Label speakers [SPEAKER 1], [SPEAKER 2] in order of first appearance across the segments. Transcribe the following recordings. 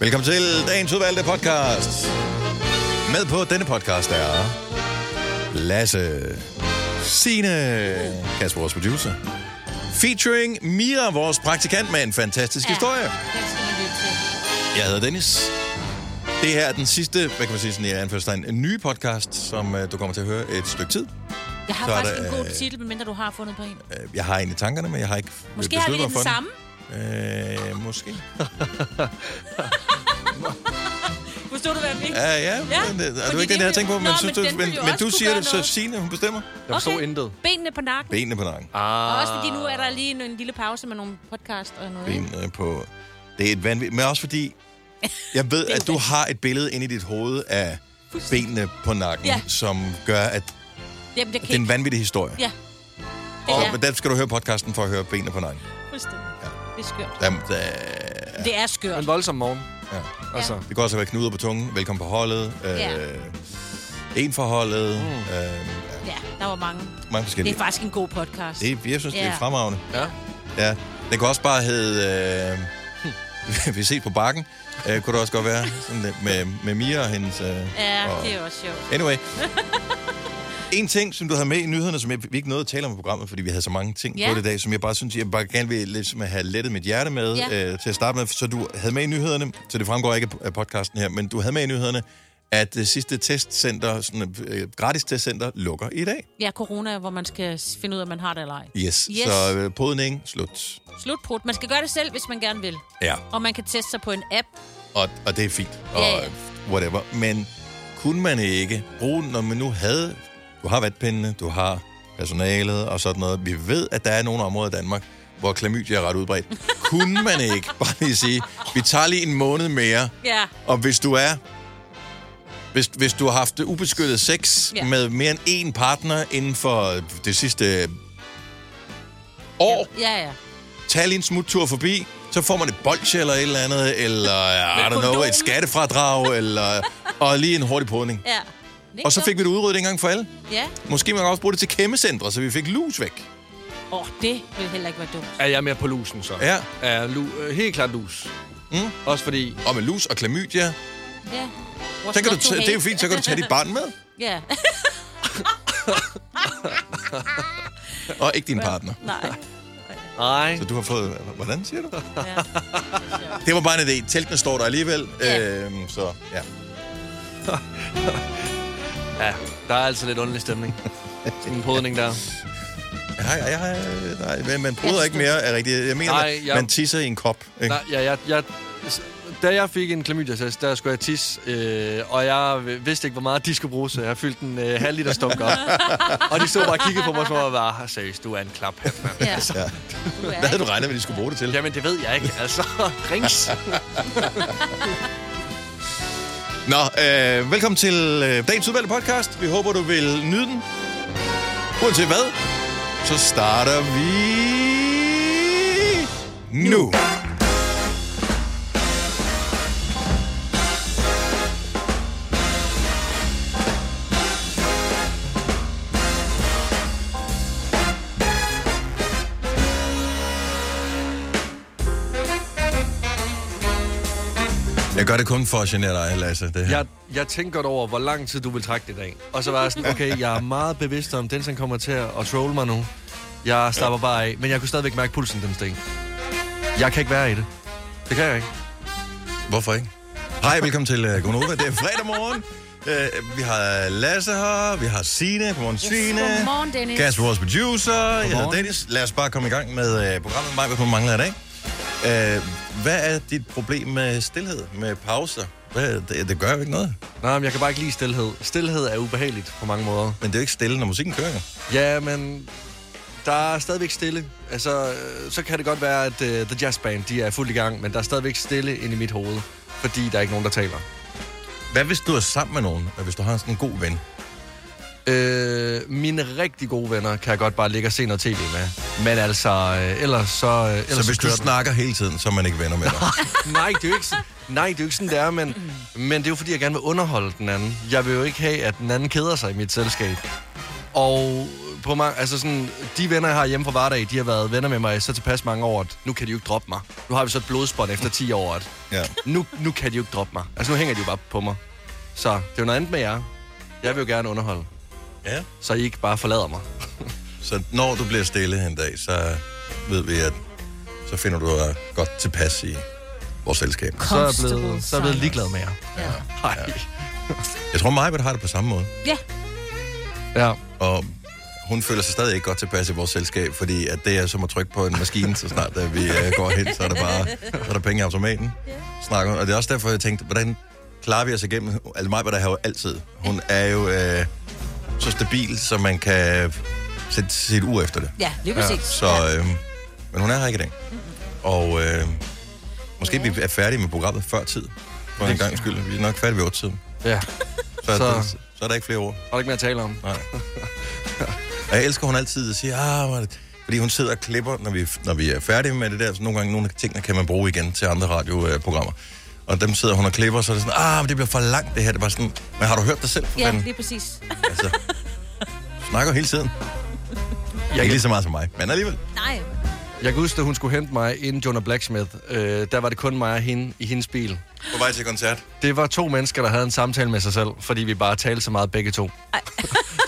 [SPEAKER 1] Velkommen til dagens udvalgte podcast. Med på denne podcast er Lasse, Signe, Kasper, vores producer. Featuring Mira, vores praktikant med en fantastisk ja. historie.
[SPEAKER 2] Den skal man lytte til.
[SPEAKER 1] Jeg hedder Dennis. Det her er den sidste, hvad kan man sige, sådan i anførselstegn, en ny podcast, som øh, du kommer til at høre et stykke tid.
[SPEAKER 2] Jeg har
[SPEAKER 1] Så er
[SPEAKER 2] faktisk
[SPEAKER 1] der,
[SPEAKER 2] en god
[SPEAKER 1] øh,
[SPEAKER 2] titel, medmindre du har fundet på en.
[SPEAKER 1] Øh, Jeg har en i tankerne, men jeg har ikke
[SPEAKER 2] Måske
[SPEAKER 1] øh,
[SPEAKER 2] har vi
[SPEAKER 1] besluttet
[SPEAKER 2] lidt
[SPEAKER 1] mig
[SPEAKER 2] den samme.
[SPEAKER 1] for den. Øh, måske.
[SPEAKER 2] Forstod du, hvad jeg fik?
[SPEAKER 1] Ja, ja. ja men, det, er
[SPEAKER 2] fordi
[SPEAKER 1] du ikke den, jeg havde
[SPEAKER 2] det-
[SPEAKER 1] tænkt på? Men,
[SPEAKER 2] Nå,
[SPEAKER 1] synes,
[SPEAKER 2] men
[SPEAKER 1] du,
[SPEAKER 2] den
[SPEAKER 1] men,
[SPEAKER 2] ville jo
[SPEAKER 1] men
[SPEAKER 2] også
[SPEAKER 1] du
[SPEAKER 2] kunne
[SPEAKER 1] siger
[SPEAKER 2] gøre
[SPEAKER 1] det, så
[SPEAKER 2] noget.
[SPEAKER 1] Signe, hun bestemmer.
[SPEAKER 3] Jeg forstod okay. intet.
[SPEAKER 2] Benene på nakken.
[SPEAKER 1] Benene på nakken.
[SPEAKER 3] Ah.
[SPEAKER 2] Også fordi nu er der lige en, en lille pause med nogle podcast og noget. ikke?
[SPEAKER 1] Ah. Benene på... Det er et vanvittigt... Men også fordi, jeg ved, at du har et billede inde i dit hoved af benene på nakken, ja.
[SPEAKER 2] Ja.
[SPEAKER 1] som gør, at
[SPEAKER 2] Jamen, jeg
[SPEAKER 1] det er
[SPEAKER 2] kan
[SPEAKER 1] en
[SPEAKER 2] ikke.
[SPEAKER 1] vanvittig historie.
[SPEAKER 2] Ja. Det
[SPEAKER 1] Og
[SPEAKER 2] er
[SPEAKER 1] men der skal du høre podcasten for at høre benene på nakken.
[SPEAKER 2] fuldstændig. Det er skørt.
[SPEAKER 1] Jamen, der...
[SPEAKER 2] Det er
[SPEAKER 3] En
[SPEAKER 2] skørt.
[SPEAKER 3] voldsom morgen.
[SPEAKER 1] Ja.
[SPEAKER 3] Altså,
[SPEAKER 1] Det kan også være knuder på tungen, velkommen på holdet, øh,
[SPEAKER 2] Ja.
[SPEAKER 1] en for holdet, mm. øh, ja,
[SPEAKER 2] Ja, der var mange.
[SPEAKER 1] mange
[SPEAKER 2] Det
[SPEAKER 1] forskellige.
[SPEAKER 2] er faktisk en god podcast.
[SPEAKER 1] Det, jeg synes, det er
[SPEAKER 2] Ja.
[SPEAKER 1] fremragende.
[SPEAKER 3] ja.
[SPEAKER 1] Ja. Den kunne også bare hedde... Øh, vi ses på bakken, øh, kunne det også godt være. Sådan lidt med, med Mia og hendes... Øh,
[SPEAKER 2] Ja,
[SPEAKER 1] og,
[SPEAKER 2] det er også sjovt.
[SPEAKER 1] Anyway. En ting, som du havde med i nyhederne, som jeg, vi ikke nåede at tale om i programmet, fordi vi havde så mange ting
[SPEAKER 2] Ja.
[SPEAKER 1] på det i dag, som jeg bare synes, jeg bare gerne vil ligesom, have lettet mit hjerte med
[SPEAKER 2] Ja.
[SPEAKER 1] ja. øh, til at starte med. Så du havde med i nyhederne, så det fremgår ikke af podcasten her, men du havde med i nyhederne, at det sidste testcenter, sådan, øh, gratis testcenter, lukker i dag.
[SPEAKER 2] Ja, corona, hvor man skal s- finde ud af, om man har det eller ej.
[SPEAKER 1] Yes.
[SPEAKER 2] Yes.
[SPEAKER 1] Så øh, podning, slut.
[SPEAKER 2] Slutbrud. Man skal gøre det selv, hvis man gerne vil.
[SPEAKER 1] Ja,
[SPEAKER 2] Og man kan teste sig på en app.
[SPEAKER 1] og, og det er fint, og
[SPEAKER 2] Ja, ja.
[SPEAKER 1] whatever. Men kunne man ikke bruge, den, når man nu havde, du har vatpindene, du har personalet og sådan noget. Vi ved, at der er nogle områder i Danmark, hvor klamydia er ret udbredt. kunne man ikke bare lige sige, vi tager lige en måned mere,
[SPEAKER 2] Ja,
[SPEAKER 1] og hvis du er... Hvis, hvis du har haft ubeskyttet sex
[SPEAKER 2] Ja.
[SPEAKER 1] ja. med mere end én partner inden for det sidste år,
[SPEAKER 2] ja, ja.
[SPEAKER 1] tag lige en smuttur forbi, så får man et bolsje eller et eller andet, eller I don't know,
[SPEAKER 2] kondom.
[SPEAKER 1] et skattefradrag, eller, og lige en hurtig podning.
[SPEAKER 2] ja.
[SPEAKER 1] Og så fik vi det udryddet en gang for alle.
[SPEAKER 2] Ja.
[SPEAKER 1] Måske man kan også bruge det til kæmmecentre, så vi fik lus væk.
[SPEAKER 2] Åh, oh, det ville heller ikke være dumt.
[SPEAKER 3] Er jeg med på lusen så?
[SPEAKER 1] Ja.
[SPEAKER 3] Er lu- øh, helt klart lus. Mm. Også fordi...
[SPEAKER 1] Og med lus og klamydia.
[SPEAKER 2] Ja. What's
[SPEAKER 1] Så kan du
[SPEAKER 2] not to
[SPEAKER 1] t- det er jo
[SPEAKER 2] hate?
[SPEAKER 1] fint, så kan du tage dit barn med,
[SPEAKER 2] Ja,
[SPEAKER 1] og ikke din partner.
[SPEAKER 2] nej.
[SPEAKER 3] Nej.
[SPEAKER 1] Så du har fået... Hvordan siger du? Det var bare en idé. Teltene står der alligevel,
[SPEAKER 2] Ja.
[SPEAKER 1] øhm, så ja.
[SPEAKER 3] Ja, der er altså lidt underlig stemning. Sådan en podning der.
[SPEAKER 1] Nej, jeg, jeg, nej, men man bryder
[SPEAKER 2] Jeg
[SPEAKER 1] ikke mere er rigtigt. Jeg mener,
[SPEAKER 3] Nej, jeg-
[SPEAKER 1] man tisser i en kop. Ikke?
[SPEAKER 3] Nej, ja, jeg, jeg, da jeg fik en klamydia-test, der skulle jeg tisse, øh, og jeg v- vidste ikke, hvor meget de skulle bruge, så jeg fyldte en øh, halv liter stunk op. og de stod bare og kiggede på mig, som om jeg var, seriøst, du er en klap. Altså.
[SPEAKER 2] Ja.
[SPEAKER 1] Ja.
[SPEAKER 2] Du er
[SPEAKER 1] Hvad havde du regnet med, de skulle bruge det til?
[SPEAKER 3] Jamen, det ved jeg ikke, altså. Rings.
[SPEAKER 1] Nå, øh, velkommen til øh, dagens udvalgte podcast. Vi håber, du vil nyde den. Uanset hvad, så starter vi nu. Jeg gør det kun for at genere dig, Lasse. Det her.
[SPEAKER 3] Jeg, jeg tænkte godt over, hvor lang tid du vil trække det i dag. Og så var jeg sådan, okay, jeg er meget bevidst om, den som kommer til at at trolle mig nu. Jeg slapper bare af, men jeg kunne stadigvæk mærke pulsen, den steg. Jeg kan ikke være i det. Det kan jeg ikke.
[SPEAKER 1] Hvorfor ikke? Hej, velkommen til uh, Gonova. Det er fredag morgen. Uh, vi har Lasse her, vi har Signe. Godmorgen, Signe.
[SPEAKER 2] Godmorgen, Dennis.
[SPEAKER 1] Kasper, vores producer. Jeg hedder
[SPEAKER 3] Godmorgen.
[SPEAKER 1] Dennis. Lad os bare komme i gang med uh, programmet. Mig, hvad hun mangler i dag. Uh, hvad er dit problem med stillhed, med pauser? Hvad, det, det gør jo ikke noget.
[SPEAKER 3] Nej, men jeg kan bare ikke lide stilhed. Stilhed er ubehageligt på mange måder.
[SPEAKER 1] Men det er jo ikke stille, når musikken kører. jo.
[SPEAKER 3] Ja, men der er stadigvæk stille. Altså, øh, så kan det godt være, at uh, The Jazz Band, de er fuldt i gang, men der er stadigvæk stille inde i mit hoved, fordi der er ikke nogen, der taler.
[SPEAKER 1] Hvad hvis du er sammen med nogen? Hvis du har sådan en god ven?
[SPEAKER 3] Øh, mine rigtig gode venner kan jeg godt bare ligge og se noget tv med. Men altså, øh, ellers så... Øh, ellers
[SPEAKER 1] Så hvis du
[SPEAKER 3] kører den.
[SPEAKER 1] snakker hele tiden, så er man ikke venner med dig.
[SPEAKER 3] Nej, det er jo ikke sådan, nej, det er jo ikke sådan, det er, men, men det er jo fordi, jeg gerne vil underholde den anden. Jeg vil jo ikke have, at den anden keder sig i mit selskab. Og på mig, altså sådan, de venner, jeg har hjemme fra hverdag, de har været venner med mig i så tilpas mange år, at nu kan de jo ikke droppe mig. Nu har vi så et blodspånd efter 10 år, at
[SPEAKER 1] Ja.
[SPEAKER 3] nu, nu kan de jo ikke droppe mig. Altså, nu hænger de jo bare på mig. Så det er jo noget andet med jer. Jeg vil jo gerne underholde,
[SPEAKER 1] ja.
[SPEAKER 3] så I ikke bare forlader mig.
[SPEAKER 1] Så når du bliver stille en dag, så ved vi, at så finder du dig godt tilpas i vores selskab.
[SPEAKER 3] Så er jeg
[SPEAKER 2] Constable
[SPEAKER 3] blevet, så er jeg blevet
[SPEAKER 2] silence.
[SPEAKER 3] ligeglad med jer.
[SPEAKER 2] Ja.
[SPEAKER 3] Ej.
[SPEAKER 1] Jeg tror, Majbert har det på samme måde.
[SPEAKER 2] ja.
[SPEAKER 3] Ja.
[SPEAKER 1] Og hun føler sig stadig ikke godt tilpas i vores selskab, fordi at det er som at trykke på en maskine, så snart at vi øh, går hen, så er der bare så er der penge i automaten. Snakker hun. Og det er også derfor, jeg tænkte, hvordan klarer vi os igennem? Altså mig, der har jo altid. Hun er jo øh, så stabil, så man kan sætte sit ur efter det.
[SPEAKER 2] Ja, lige præcis. Ja.
[SPEAKER 1] Så, øh, men hun er her ikke i dag. Og øh, måske vi er færdige med programmet før tid. For en gang skyld. Vi er nok færdige ved 8 tiden.
[SPEAKER 3] Ja.
[SPEAKER 1] Så, så,
[SPEAKER 3] Så-
[SPEAKER 1] så er der ikke flere ord.
[SPEAKER 3] Har du ikke mere at tale om?
[SPEAKER 1] Nej. Og jeg elsker, hun altid siger, ah, hvor er det-" fordi hun sidder og klipper, når vi, når vi er færdige med det der, så nogle gange nogle af tingene kan man bruge igen til andre radioprogrammer. Og dem sidder hun og klipper, så er det sådan, ah, men det bliver for langt det her. Det var sådan, men har du hørt dig selv? for
[SPEAKER 2] ja,
[SPEAKER 1] fanden?"
[SPEAKER 2] lige præcis.
[SPEAKER 1] altså, snakker hele tiden. Jeg er ikke lige så meget som mig, men alligevel.
[SPEAKER 2] Nej.
[SPEAKER 3] Jeg kan huske, at hun skulle hente mig inden Jonah Blacksmith. Øh, der var det kun mig og hende i hendes bil.
[SPEAKER 1] På vej til koncert.
[SPEAKER 3] Det var to mennesker, der havde en samtale med sig selv, fordi vi bare talte så meget begge to.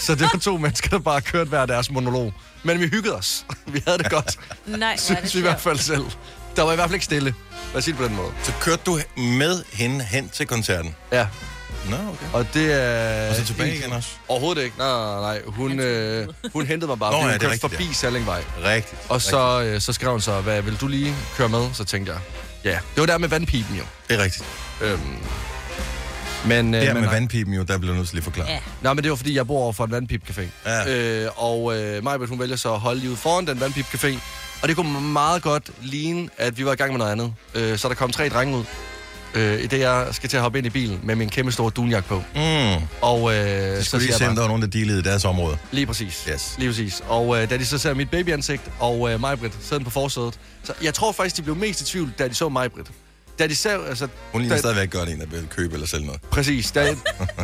[SPEAKER 3] så det var to mennesker, der bare kørte hver deres monolog. Men vi hyggede os. Vi havde det godt,
[SPEAKER 2] Nej, hvor er det
[SPEAKER 3] synes vi i hvert
[SPEAKER 2] sjovt.
[SPEAKER 3] fald selv. Der var i hvert fald ikke stille. Lad os sige det på den måde.
[SPEAKER 1] Så kørte du med hende hen til koncerten?
[SPEAKER 3] Ja,
[SPEAKER 1] Nå, okay.
[SPEAKER 3] og det er...
[SPEAKER 1] Og så tilbage igen også?
[SPEAKER 3] Altså, Overhovedet ikke. Nej, nej, nej. Hun, øh, hun hentede mig bare,
[SPEAKER 1] Nå,
[SPEAKER 3] fordi
[SPEAKER 1] ja,
[SPEAKER 3] hun
[SPEAKER 1] det er
[SPEAKER 3] kørte
[SPEAKER 1] rigtigt,
[SPEAKER 3] forbi
[SPEAKER 1] ja.
[SPEAKER 3] Sallingvej.
[SPEAKER 1] Rigtigt.
[SPEAKER 3] Og så, øh, så skrev hun så, hvad vil du lige køre med? Så tænkte jeg, ja. Det var der med vandpipen jo.
[SPEAKER 1] Rigtigt. Det er rigtigt.
[SPEAKER 3] Øhm, men, øh,
[SPEAKER 1] Det her
[SPEAKER 3] men
[SPEAKER 1] med
[SPEAKER 3] nej.
[SPEAKER 1] vandpipen jo, der blev jeg nødt til lige at forklare.
[SPEAKER 2] Ja.
[SPEAKER 3] Nej, men det var fordi, jeg bor over for en vandpipcafé.
[SPEAKER 1] Ja.
[SPEAKER 3] Øh, og øh, Majbert, hun vælger så at holde lige ud foran den vandpipcafé. Og det kunne meget godt ligne, at vi var i gang med noget andet. Øh, så der kom tre drenge ud, øh, i det jeg skal til at hoppe ind i bilen med min kæmpe store dunjak på.
[SPEAKER 1] Mm.
[SPEAKER 3] Og øh, så
[SPEAKER 1] Skulle
[SPEAKER 3] siger
[SPEAKER 1] lige
[SPEAKER 3] jeg
[SPEAKER 1] se, om
[SPEAKER 3] bare,
[SPEAKER 1] der var nogen, der dealede i deres område.
[SPEAKER 3] lige præcis.
[SPEAKER 1] Yes.
[SPEAKER 3] Lige præcis. Og øh, da de så ser mit babyansigt, og øh, Majbrit sidder på forsædet. Så jeg tror faktisk, de blev mest i tvivl, da de så Majbrit. Da de så, altså,
[SPEAKER 1] Hun ligner
[SPEAKER 3] da,
[SPEAKER 1] stadigvæk godt en, der vil købe eller sælge noget.
[SPEAKER 3] Præcis. Da,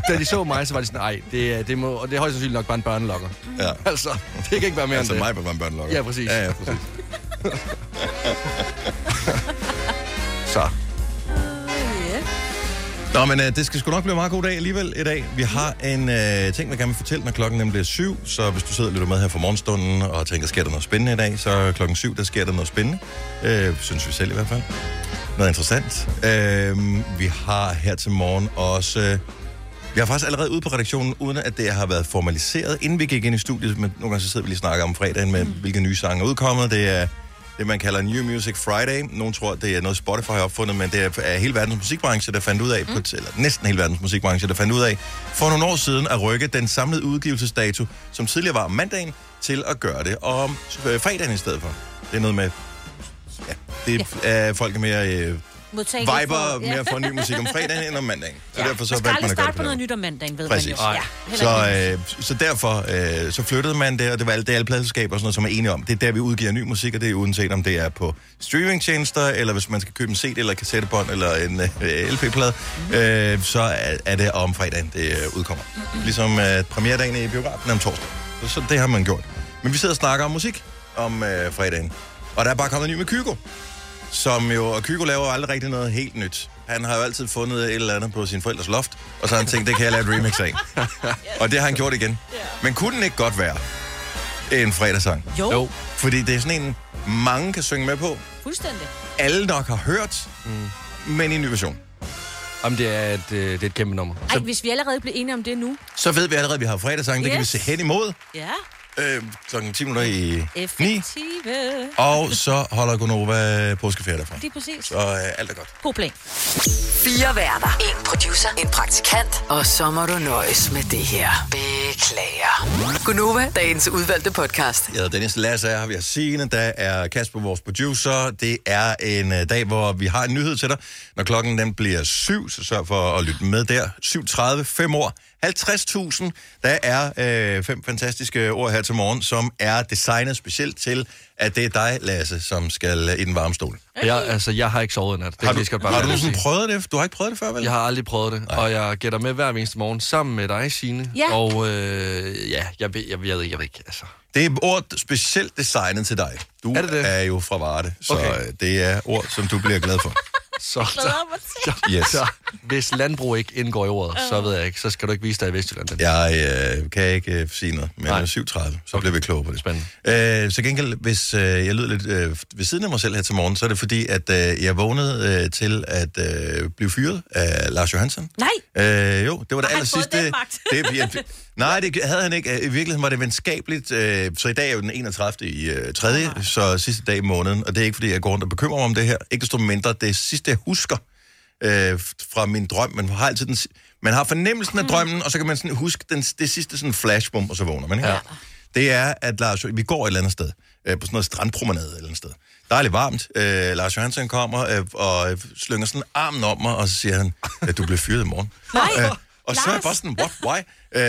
[SPEAKER 3] da de så mig, så var de sådan, nej, det, er- det, må, og det er højst sandsynligt nok bare en børnelokker.
[SPEAKER 1] Ja.
[SPEAKER 3] Altså, det kan ikke være mere
[SPEAKER 1] Altså
[SPEAKER 3] end det.
[SPEAKER 1] mig var en børnelokker.
[SPEAKER 3] Ja, præcis.
[SPEAKER 1] Ja, ja, præcis.
[SPEAKER 3] Så.
[SPEAKER 1] Nå, men øh, det skal sgu nok blive en meget god dag alligevel i dag. Vi har en øh, ting, man gerne vil fortælle, når klokken nemlig er syv. Så hvis du sidder og lytter med her fra morgenstunden og tænker, sker der noget spændende i dag, så er klokken syv, der sker der noget spændende. Øh, synes vi selv i hvert fald. Noget interessant. Øh, vi har her til morgen også... Øh, vi har faktisk allerede ude på redaktionen, uden at det har været formaliseret, inden vi gik ind i studiet. Men nogle gange så sidder vi lige og snakker om fredagen med, mm. hvilke nye sange er udkommet. Det er det, man kalder New Music Friday. Nogle tror, det er noget Spotify har opfundet, men det er er hele verdens musikbranche, der fandt ud af, mm. på, eller næsten hele verdens musikbranche, der fandt ud af, for nogle år siden at rykke den samlede udgivelsesdato, som tidligere var om mandagen, til at gøre det om øh, fredagen i stedet for. Det er noget med... Ja, det er, folk er mere... Øh,
[SPEAKER 2] Modtageligt
[SPEAKER 1] viber
[SPEAKER 2] for-
[SPEAKER 1] mere for ny musik om fredagen end om mandagen. Så
[SPEAKER 2] Ja.
[SPEAKER 1] derfor så
[SPEAKER 2] man skal
[SPEAKER 1] valgte man
[SPEAKER 2] aldrig
[SPEAKER 1] at gøre
[SPEAKER 2] starte
[SPEAKER 1] det
[SPEAKER 2] på
[SPEAKER 1] på den
[SPEAKER 2] noget
[SPEAKER 1] måde.
[SPEAKER 2] nyt om mandagen, ved
[SPEAKER 1] Præcis.
[SPEAKER 2] man jo.
[SPEAKER 1] Ej.
[SPEAKER 2] Ja, heller ikke
[SPEAKER 1] Så, øh, så derfor øh, så flyttede man det, og det var alt det alle pladeselskaber og sådan noget, som er enige om. Det er der, vi udgiver ny musik, og det er uanset om det er på streamingtjenester, eller hvis man skal købe en CD, eller et kassettebånd, eller en øh, LP-plade,
[SPEAKER 2] Mhm.
[SPEAKER 1] øh, så er, er det om fredagen, det øh, udkommer. Ligesom øh, premieredagen i biografen er om torsdag. Så, så det har man gjort. Men vi sidder og snakker om musik om øh, fredagen. Og der er bare kommet en ny med Kygo som jo, og Kygo laver jo aldrig rigtig noget helt nyt. Han har jo altid fundet et eller andet på sin forældres loft, og så har han tænkt, det kan jeg lave et remix af. og det har han gjort igen. Men kunne den ikke godt være en fredagssang?
[SPEAKER 2] Jo, jo,
[SPEAKER 3] Jo.
[SPEAKER 1] Fordi det er sådan en, mange kan synge med på,
[SPEAKER 2] fuldstændig.
[SPEAKER 1] alle nok har hørt, mm. men i en ny version.
[SPEAKER 3] Jamen, det er et, øh, det er et kæmpe nummer.
[SPEAKER 2] Ej, hvis vi allerede blev enige om det nu.
[SPEAKER 1] Så ved vi allerede, at vi har fredagssang, det kan vi
[SPEAKER 2] Yes.
[SPEAKER 1] se hen imod
[SPEAKER 2] Ja,
[SPEAKER 1] øh, kl. 10 minutter i 9.
[SPEAKER 2] effektive.
[SPEAKER 1] Og så holder Gonova påskeferie derfra.
[SPEAKER 2] Lige præcis.
[SPEAKER 1] Så øh, alt er godt.
[SPEAKER 2] God plan.
[SPEAKER 4] Fire værter. En producer. En praktikant. Og så må du nøjes med det her. Beklager. Gunova, dagens udvalgte podcast.
[SPEAKER 1] Jeg hedder Dennis Lasse, jeg har vi har Signe, der er Kasper, vores producer. Det er en øh, dag, hvor vi har en nyhed til dig. Når klokken den bliver syv, så sørg for at lytte med der. 7.30, 5 år, 50.000. Der er øh, fem fantastiske ord her til morgen, som er designet specielt til, at det er dig, Lasse, som skal øh, i den varme stol.
[SPEAKER 3] Og Jeg, altså, jeg har ikke sovet i nat. Det
[SPEAKER 1] Har
[SPEAKER 3] kan
[SPEAKER 1] du,
[SPEAKER 3] jeg skal bare
[SPEAKER 1] har du
[SPEAKER 3] være
[SPEAKER 1] nogensinde
[SPEAKER 3] ærlig at
[SPEAKER 1] prøvet det? Du har ikke prøvet det før, vel?
[SPEAKER 3] sige. Jeg har aldrig prøvet det, og jeg gætter med hver eneste morgen sammen med dig, Signe,
[SPEAKER 2] Ja.
[SPEAKER 3] og øh, Øh, ja, jeg, ved- jeg, jeg, ved- jeg ved ikke, altså.
[SPEAKER 1] Det er ord specielt designet til dig. Du er,
[SPEAKER 3] det
[SPEAKER 1] det
[SPEAKER 3] det?
[SPEAKER 1] det? er jo fra Varde, så
[SPEAKER 3] Okay.
[SPEAKER 1] okay. det er ord, som du bliver glad for.
[SPEAKER 3] Så,
[SPEAKER 2] Glæder mig til.
[SPEAKER 1] Yes.
[SPEAKER 3] så, hvis landbrug ikke indgår i ordet, så ved jeg ikke, så skal du ikke vise dig i Vestjylland. Den.
[SPEAKER 1] Jeg øh, kan ikke øh, sige noget, men
[SPEAKER 3] Nej.
[SPEAKER 1] 7.30, så bliver vi klogere på det.
[SPEAKER 3] Spændende.
[SPEAKER 1] Øh, så gengæld, hvis øh, jeg lyder lidt øh, ved siden af mig selv her til morgen, så er det fordi, at øh, jeg vågnede øh, til at øh, blive fyret af Lars Johansen.
[SPEAKER 2] Nej.
[SPEAKER 1] Øh, jo, det var det
[SPEAKER 2] Har han
[SPEAKER 1] aller sidste.
[SPEAKER 2] fået den magt?
[SPEAKER 1] det, jeg, nej, det havde han ikke. I virkeligheden var det venskabeligt. Øh, så i dag er jo den 31. i øh, 3.
[SPEAKER 2] Ah.
[SPEAKER 1] Så sidste dag i måneden. Og det er ikke, fordi jeg går rundt og bekymrer mig om det her. Ikke desto mindre, det sidste, jeg husker øh, fra min drøm. Man har altid den, si- man har fornemmelsen af
[SPEAKER 2] Mm.
[SPEAKER 1] drømmen, og så kan man sådan huske den, det sidste sådan flashbum, og så vågner man. Ikke? Ja. Det er, at Lars, vi går et eller andet sted, øh, på sådan noget strandpromenade et eller andet sted. Dejligt varmt. Øh, Lars Johansen kommer øh, og øh, slynger sådan armen om mig, og så siger han, at du bliver fyret i morgen. Øh,
[SPEAKER 2] Nej.
[SPEAKER 1] Og så er jeg
[SPEAKER 2] Lars.
[SPEAKER 1] bare sådan, what, why? Øh,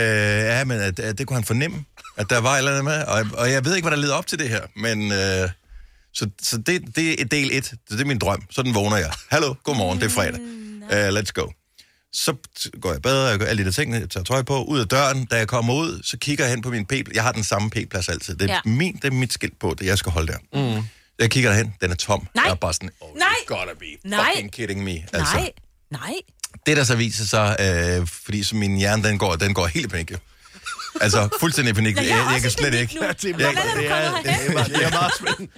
[SPEAKER 1] ja, men at, at det kunne han fornemme, at der var et eller andet med. Og, og jeg ved ikke, hvad der leder op til det her, men... Øh, så, så det, det er del 1. Det er min drøm. Sådan vågner jeg. Hallo, godmorgen, det er fredag. Uh, let's go. Så t- går jeg i bad, og jeg gør alle de der ting, jeg tager tøj på, ud af døren. Da jeg kommer ud, så kigger jeg hen på min p Jeg har den samme p-plads altid. Det er,
[SPEAKER 2] Ja.
[SPEAKER 1] ja. min, det er mit skilt på, det jeg skal holde der. Mm. Jeg kigger derhen, den er tom.
[SPEAKER 2] Nej.
[SPEAKER 1] Jeg er bare sådan, oh,
[SPEAKER 2] Nej.
[SPEAKER 1] you gotta be
[SPEAKER 2] Nej.
[SPEAKER 1] fucking kidding me. Altså,
[SPEAKER 2] Nej. Nej.
[SPEAKER 1] det, der så viser sig, øh, fordi så min hjerne, den går, den går helt i panik. jo. Altså, fuldstændig i panik.
[SPEAKER 2] Ja,
[SPEAKER 1] Jeg,
[SPEAKER 2] jeg er
[SPEAKER 1] jeg,
[SPEAKER 2] også
[SPEAKER 1] kan
[SPEAKER 2] i
[SPEAKER 1] slet
[SPEAKER 2] panik
[SPEAKER 1] ikke.
[SPEAKER 2] nu. Hvordan er du kommet herhen?
[SPEAKER 1] Jeg er meget spændt.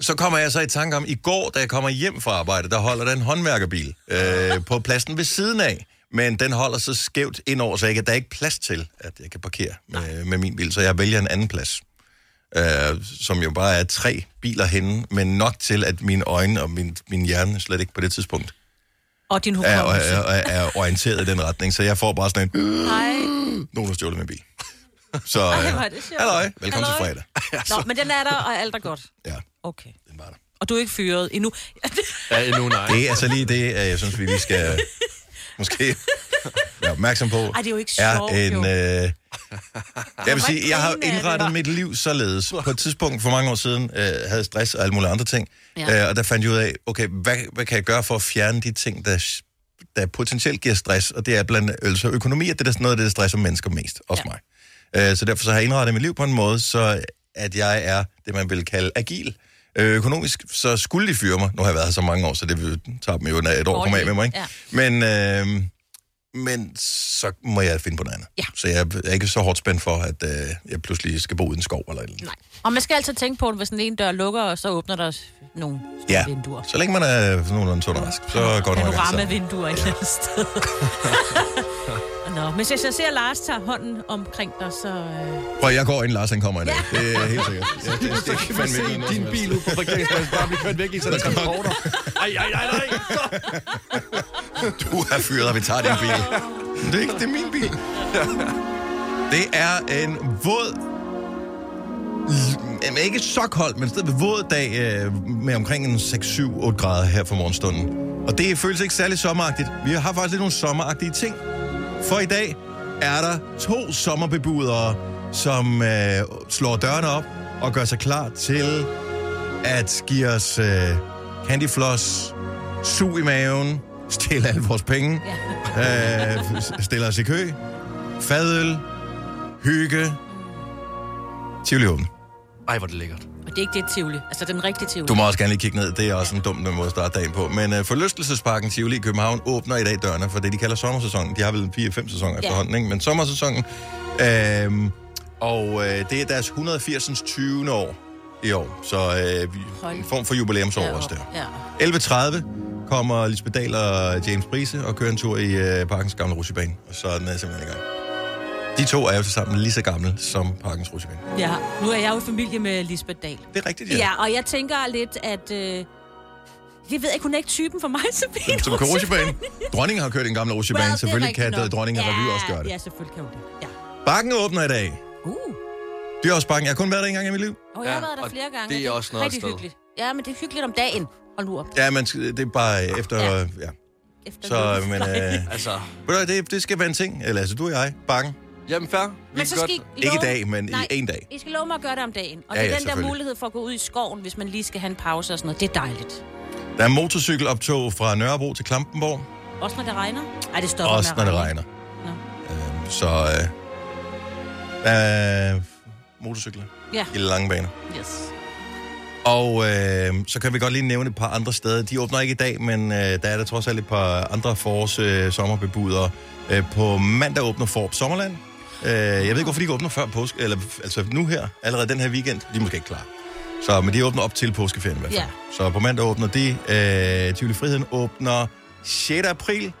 [SPEAKER 1] Så kommer jeg så i tanke om, i går, da jeg kommer hjem fra arbejde, der holder der en håndværkerbil øh, på pladsen ved siden af. Men den holder så skævt indover, så jeg kan, der er ikke plads til, at jeg kan parkere med, med min bil. Så jeg vælger en anden plads, øh, som jo bare er tre biler henne, men nok til, at mine øjne og min, min hjerne slet ikke på det tidspunkt
[SPEAKER 2] Og din
[SPEAKER 1] er, er,
[SPEAKER 2] hukommelse.
[SPEAKER 1] er, er orienteret i den retning. Så jeg får bare sådan en, "Øh,
[SPEAKER 2] Nej.
[SPEAKER 1] nogen har stjålet min bil. Så øh,
[SPEAKER 2] hvor er det sjovt.
[SPEAKER 1] halløj, velkommen
[SPEAKER 2] Halløj.
[SPEAKER 1] til fredag.
[SPEAKER 2] Nå, men den er der, og alt er godt.
[SPEAKER 1] Ja,
[SPEAKER 2] Okay.
[SPEAKER 1] den var der.
[SPEAKER 2] Og du er ikke fyret endnu.
[SPEAKER 3] Ja, endnu nej.
[SPEAKER 1] Det er altså lige det, øh, jeg synes, vi lige skal øh, måske være opmærksom på.
[SPEAKER 2] Ej, det er jo ikke
[SPEAKER 1] er
[SPEAKER 2] sjovt,
[SPEAKER 1] en,
[SPEAKER 2] jo.
[SPEAKER 1] øh, jeg vil sige, jeg har jo
[SPEAKER 2] grine af det,
[SPEAKER 1] indrettet
[SPEAKER 2] hva'?
[SPEAKER 1] mit liv således. På et tidspunkt for mange år siden øh, havde jeg stress og alle mulige andre ting.
[SPEAKER 2] Ja.
[SPEAKER 1] Ja. Øh, og der fandt jeg ud af, okay, hvad, hvad kan jeg gøre for at fjerne de ting, der, der potentielt giver stress? Og det er blandt altså økonomi, og det er sådan noget, af det der stresser mennesker mest, også
[SPEAKER 2] Ja.
[SPEAKER 1] ja. mig. Øh, så derfor så har jeg indrettet mit liv på en måde, så at jeg er det, man vil kalde agil. Øh, økonomisk, så skulle de fyre mig. Nu har jeg været her så mange år, så det tager dem jo et år at komme af med mig. Ikke?
[SPEAKER 2] Ja.
[SPEAKER 1] Men, øh, men så må jeg finde på noget andet.
[SPEAKER 2] Ja.
[SPEAKER 1] Så jeg er ikke så hårdt spændt for, at øh, jeg pludselig skal bo uden skov eller et eller andet.
[SPEAKER 2] Nej. Og man skal altså tænke på, at hvis den ene dør lukker, og så åbner der nogle
[SPEAKER 1] Ja,
[SPEAKER 2] vinduer.
[SPEAKER 1] så længe man er sådan nogenlunde sund og rask, så går det altså? nok alt sammen.
[SPEAKER 2] Panoramavinduer et eller andet sted. Nå, men hvis jeg ser, at Lars tager hånden omkring dig, så... Øh...
[SPEAKER 1] Prøv, jeg går ind, Lars han kommer i dag. Det er helt sikkert. Ja, det, det, det, det,
[SPEAKER 3] Hvad se din bil ud på parkeringspladsen, bare blive kørt væk i sådan en transporter. Ej, ej, ej, nej.
[SPEAKER 1] Du er fyret, og vi tager din bil. Det er ikke, det er min bil. Det er en våd... Jamen, ikke så koldt, men stadig våd dag øh, med omkring en 6-7-8 grader her for morgenstunden. Og det føles ikke særlig sommeragtigt. Vi har faktisk lidt nogle sommeragtige ting. For i dag er der to sommerbebudere, som øh, slår dørene op og gør sig klar til at give os øh, candyfloss, sug i maven, stjæle alle vores penge,
[SPEAKER 2] Ja.
[SPEAKER 1] øh, stille os i kø, fadøl, hygge, Tivoli åben.
[SPEAKER 3] Ej, hvor er det lækkert.
[SPEAKER 2] Og det er ikke det Tivoli. Altså den rigtige Tivoli.
[SPEAKER 1] Du må også gerne lige kigge ned, det er også en dum måde at starte dagen på. Men øh, forlystelsesparken Tivoli i København åbner i dag dørene for det, de kalder sommersæsonen. De har vel 4-5 sæsoner ja. efterhånden, ikke? men sommersæsonen. Øh, og øh, det er deres 180. 20. år i år, så øh, vi-
[SPEAKER 2] Hold
[SPEAKER 1] en form for jubilæumsår ja, også der.
[SPEAKER 2] Ja.
[SPEAKER 1] 11.30 kommer Lisbeth Dahl og James Brise og kører en tur i øh, Parkens Gamle Rutsjebane. Og så er den øh, simpelthen i gang. De to er jo sammen lige så gamle som Parkens Rutsjebane.
[SPEAKER 2] ja. Nu er jeg jo i familie med Lisbeth Dahl.
[SPEAKER 1] Det er rigtigt,
[SPEAKER 2] Ja, og jeg tænker lidt, at... Øh... Jeg ved ikke, hun er ikke typen for mig, som en
[SPEAKER 1] Som kører rutsjebane. Dronningen har kørt en gammel rutsjebane.
[SPEAKER 2] Well, det er
[SPEAKER 1] selvfølgelig kan
[SPEAKER 2] rigtigt nok.
[SPEAKER 1] dronningen ja, revy også gøre det.
[SPEAKER 2] Ja, selvfølgelig kan hun det. Ja.
[SPEAKER 1] Bakken åbner i dag.
[SPEAKER 2] Uh.
[SPEAKER 1] Dyrsbakken. Jeg har kun været der en gang i mit liv.
[SPEAKER 2] Og jeg har
[SPEAKER 3] Ja,
[SPEAKER 2] været der
[SPEAKER 3] og
[SPEAKER 2] flere gange.
[SPEAKER 3] det er
[SPEAKER 2] og
[SPEAKER 3] også noget
[SPEAKER 2] rigtig
[SPEAKER 3] sted.
[SPEAKER 2] hyggeligt. Ja, men det er hyggeligt om dagen. Hold nu op.
[SPEAKER 1] Ja, men det er bare øh, efter...
[SPEAKER 2] Ja.
[SPEAKER 1] Ja. ja.
[SPEAKER 2] Efter
[SPEAKER 1] Så,
[SPEAKER 2] lukkes-
[SPEAKER 1] men...
[SPEAKER 2] Nej.
[SPEAKER 1] Øh,
[SPEAKER 3] Altså,
[SPEAKER 1] ved du, hvad, det, det skal være en ting. Eller altså, du og jeg. Bakken.
[SPEAKER 3] jamen fair. Vi
[SPEAKER 2] Men
[SPEAKER 3] kan
[SPEAKER 2] så
[SPEAKER 3] godt-
[SPEAKER 2] skal I love...
[SPEAKER 1] Ikke i dag, men
[SPEAKER 2] Nej.
[SPEAKER 1] i en dag.
[SPEAKER 2] I skal love mig at gøre det om dagen. Og
[SPEAKER 1] Ja,
[SPEAKER 2] det er
[SPEAKER 1] ja,
[SPEAKER 2] den der
[SPEAKER 1] selvfølgelig.
[SPEAKER 2] mulighed for at gå ud i skoven, hvis man lige skal have en pause og sådan noget. Det er dejligt.
[SPEAKER 1] Der er motorcykeloptog fra Nørrebro til Klampenborg.
[SPEAKER 2] Også når det regner. Ej, det stopper
[SPEAKER 1] Også
[SPEAKER 2] med
[SPEAKER 1] når
[SPEAKER 2] at
[SPEAKER 1] det
[SPEAKER 2] regne.
[SPEAKER 1] regner.
[SPEAKER 2] Nå.
[SPEAKER 1] Øhm, Så øh, der er motorcykler
[SPEAKER 2] Ja.
[SPEAKER 1] i lange baner.
[SPEAKER 2] Yes.
[SPEAKER 1] Og øh, så kan vi godt lige nævne et par andre steder. De åbner ikke i dag, men øh, der er der trods alt et par andre forårs øh, sommerbebudere. Øh, på mandag åbner Forbes Sommerland. Øh, jeg ved ikke, hvorfor de ikke åbner før påske, eller altså nu her, allerede den her weekend. De er måske ikke klar. Så, men de åbner op til påskeferien i hvert fald.
[SPEAKER 2] Ja.
[SPEAKER 1] Så på mandag åbner de. Øh, Tivoli Friheden åbner 6. april,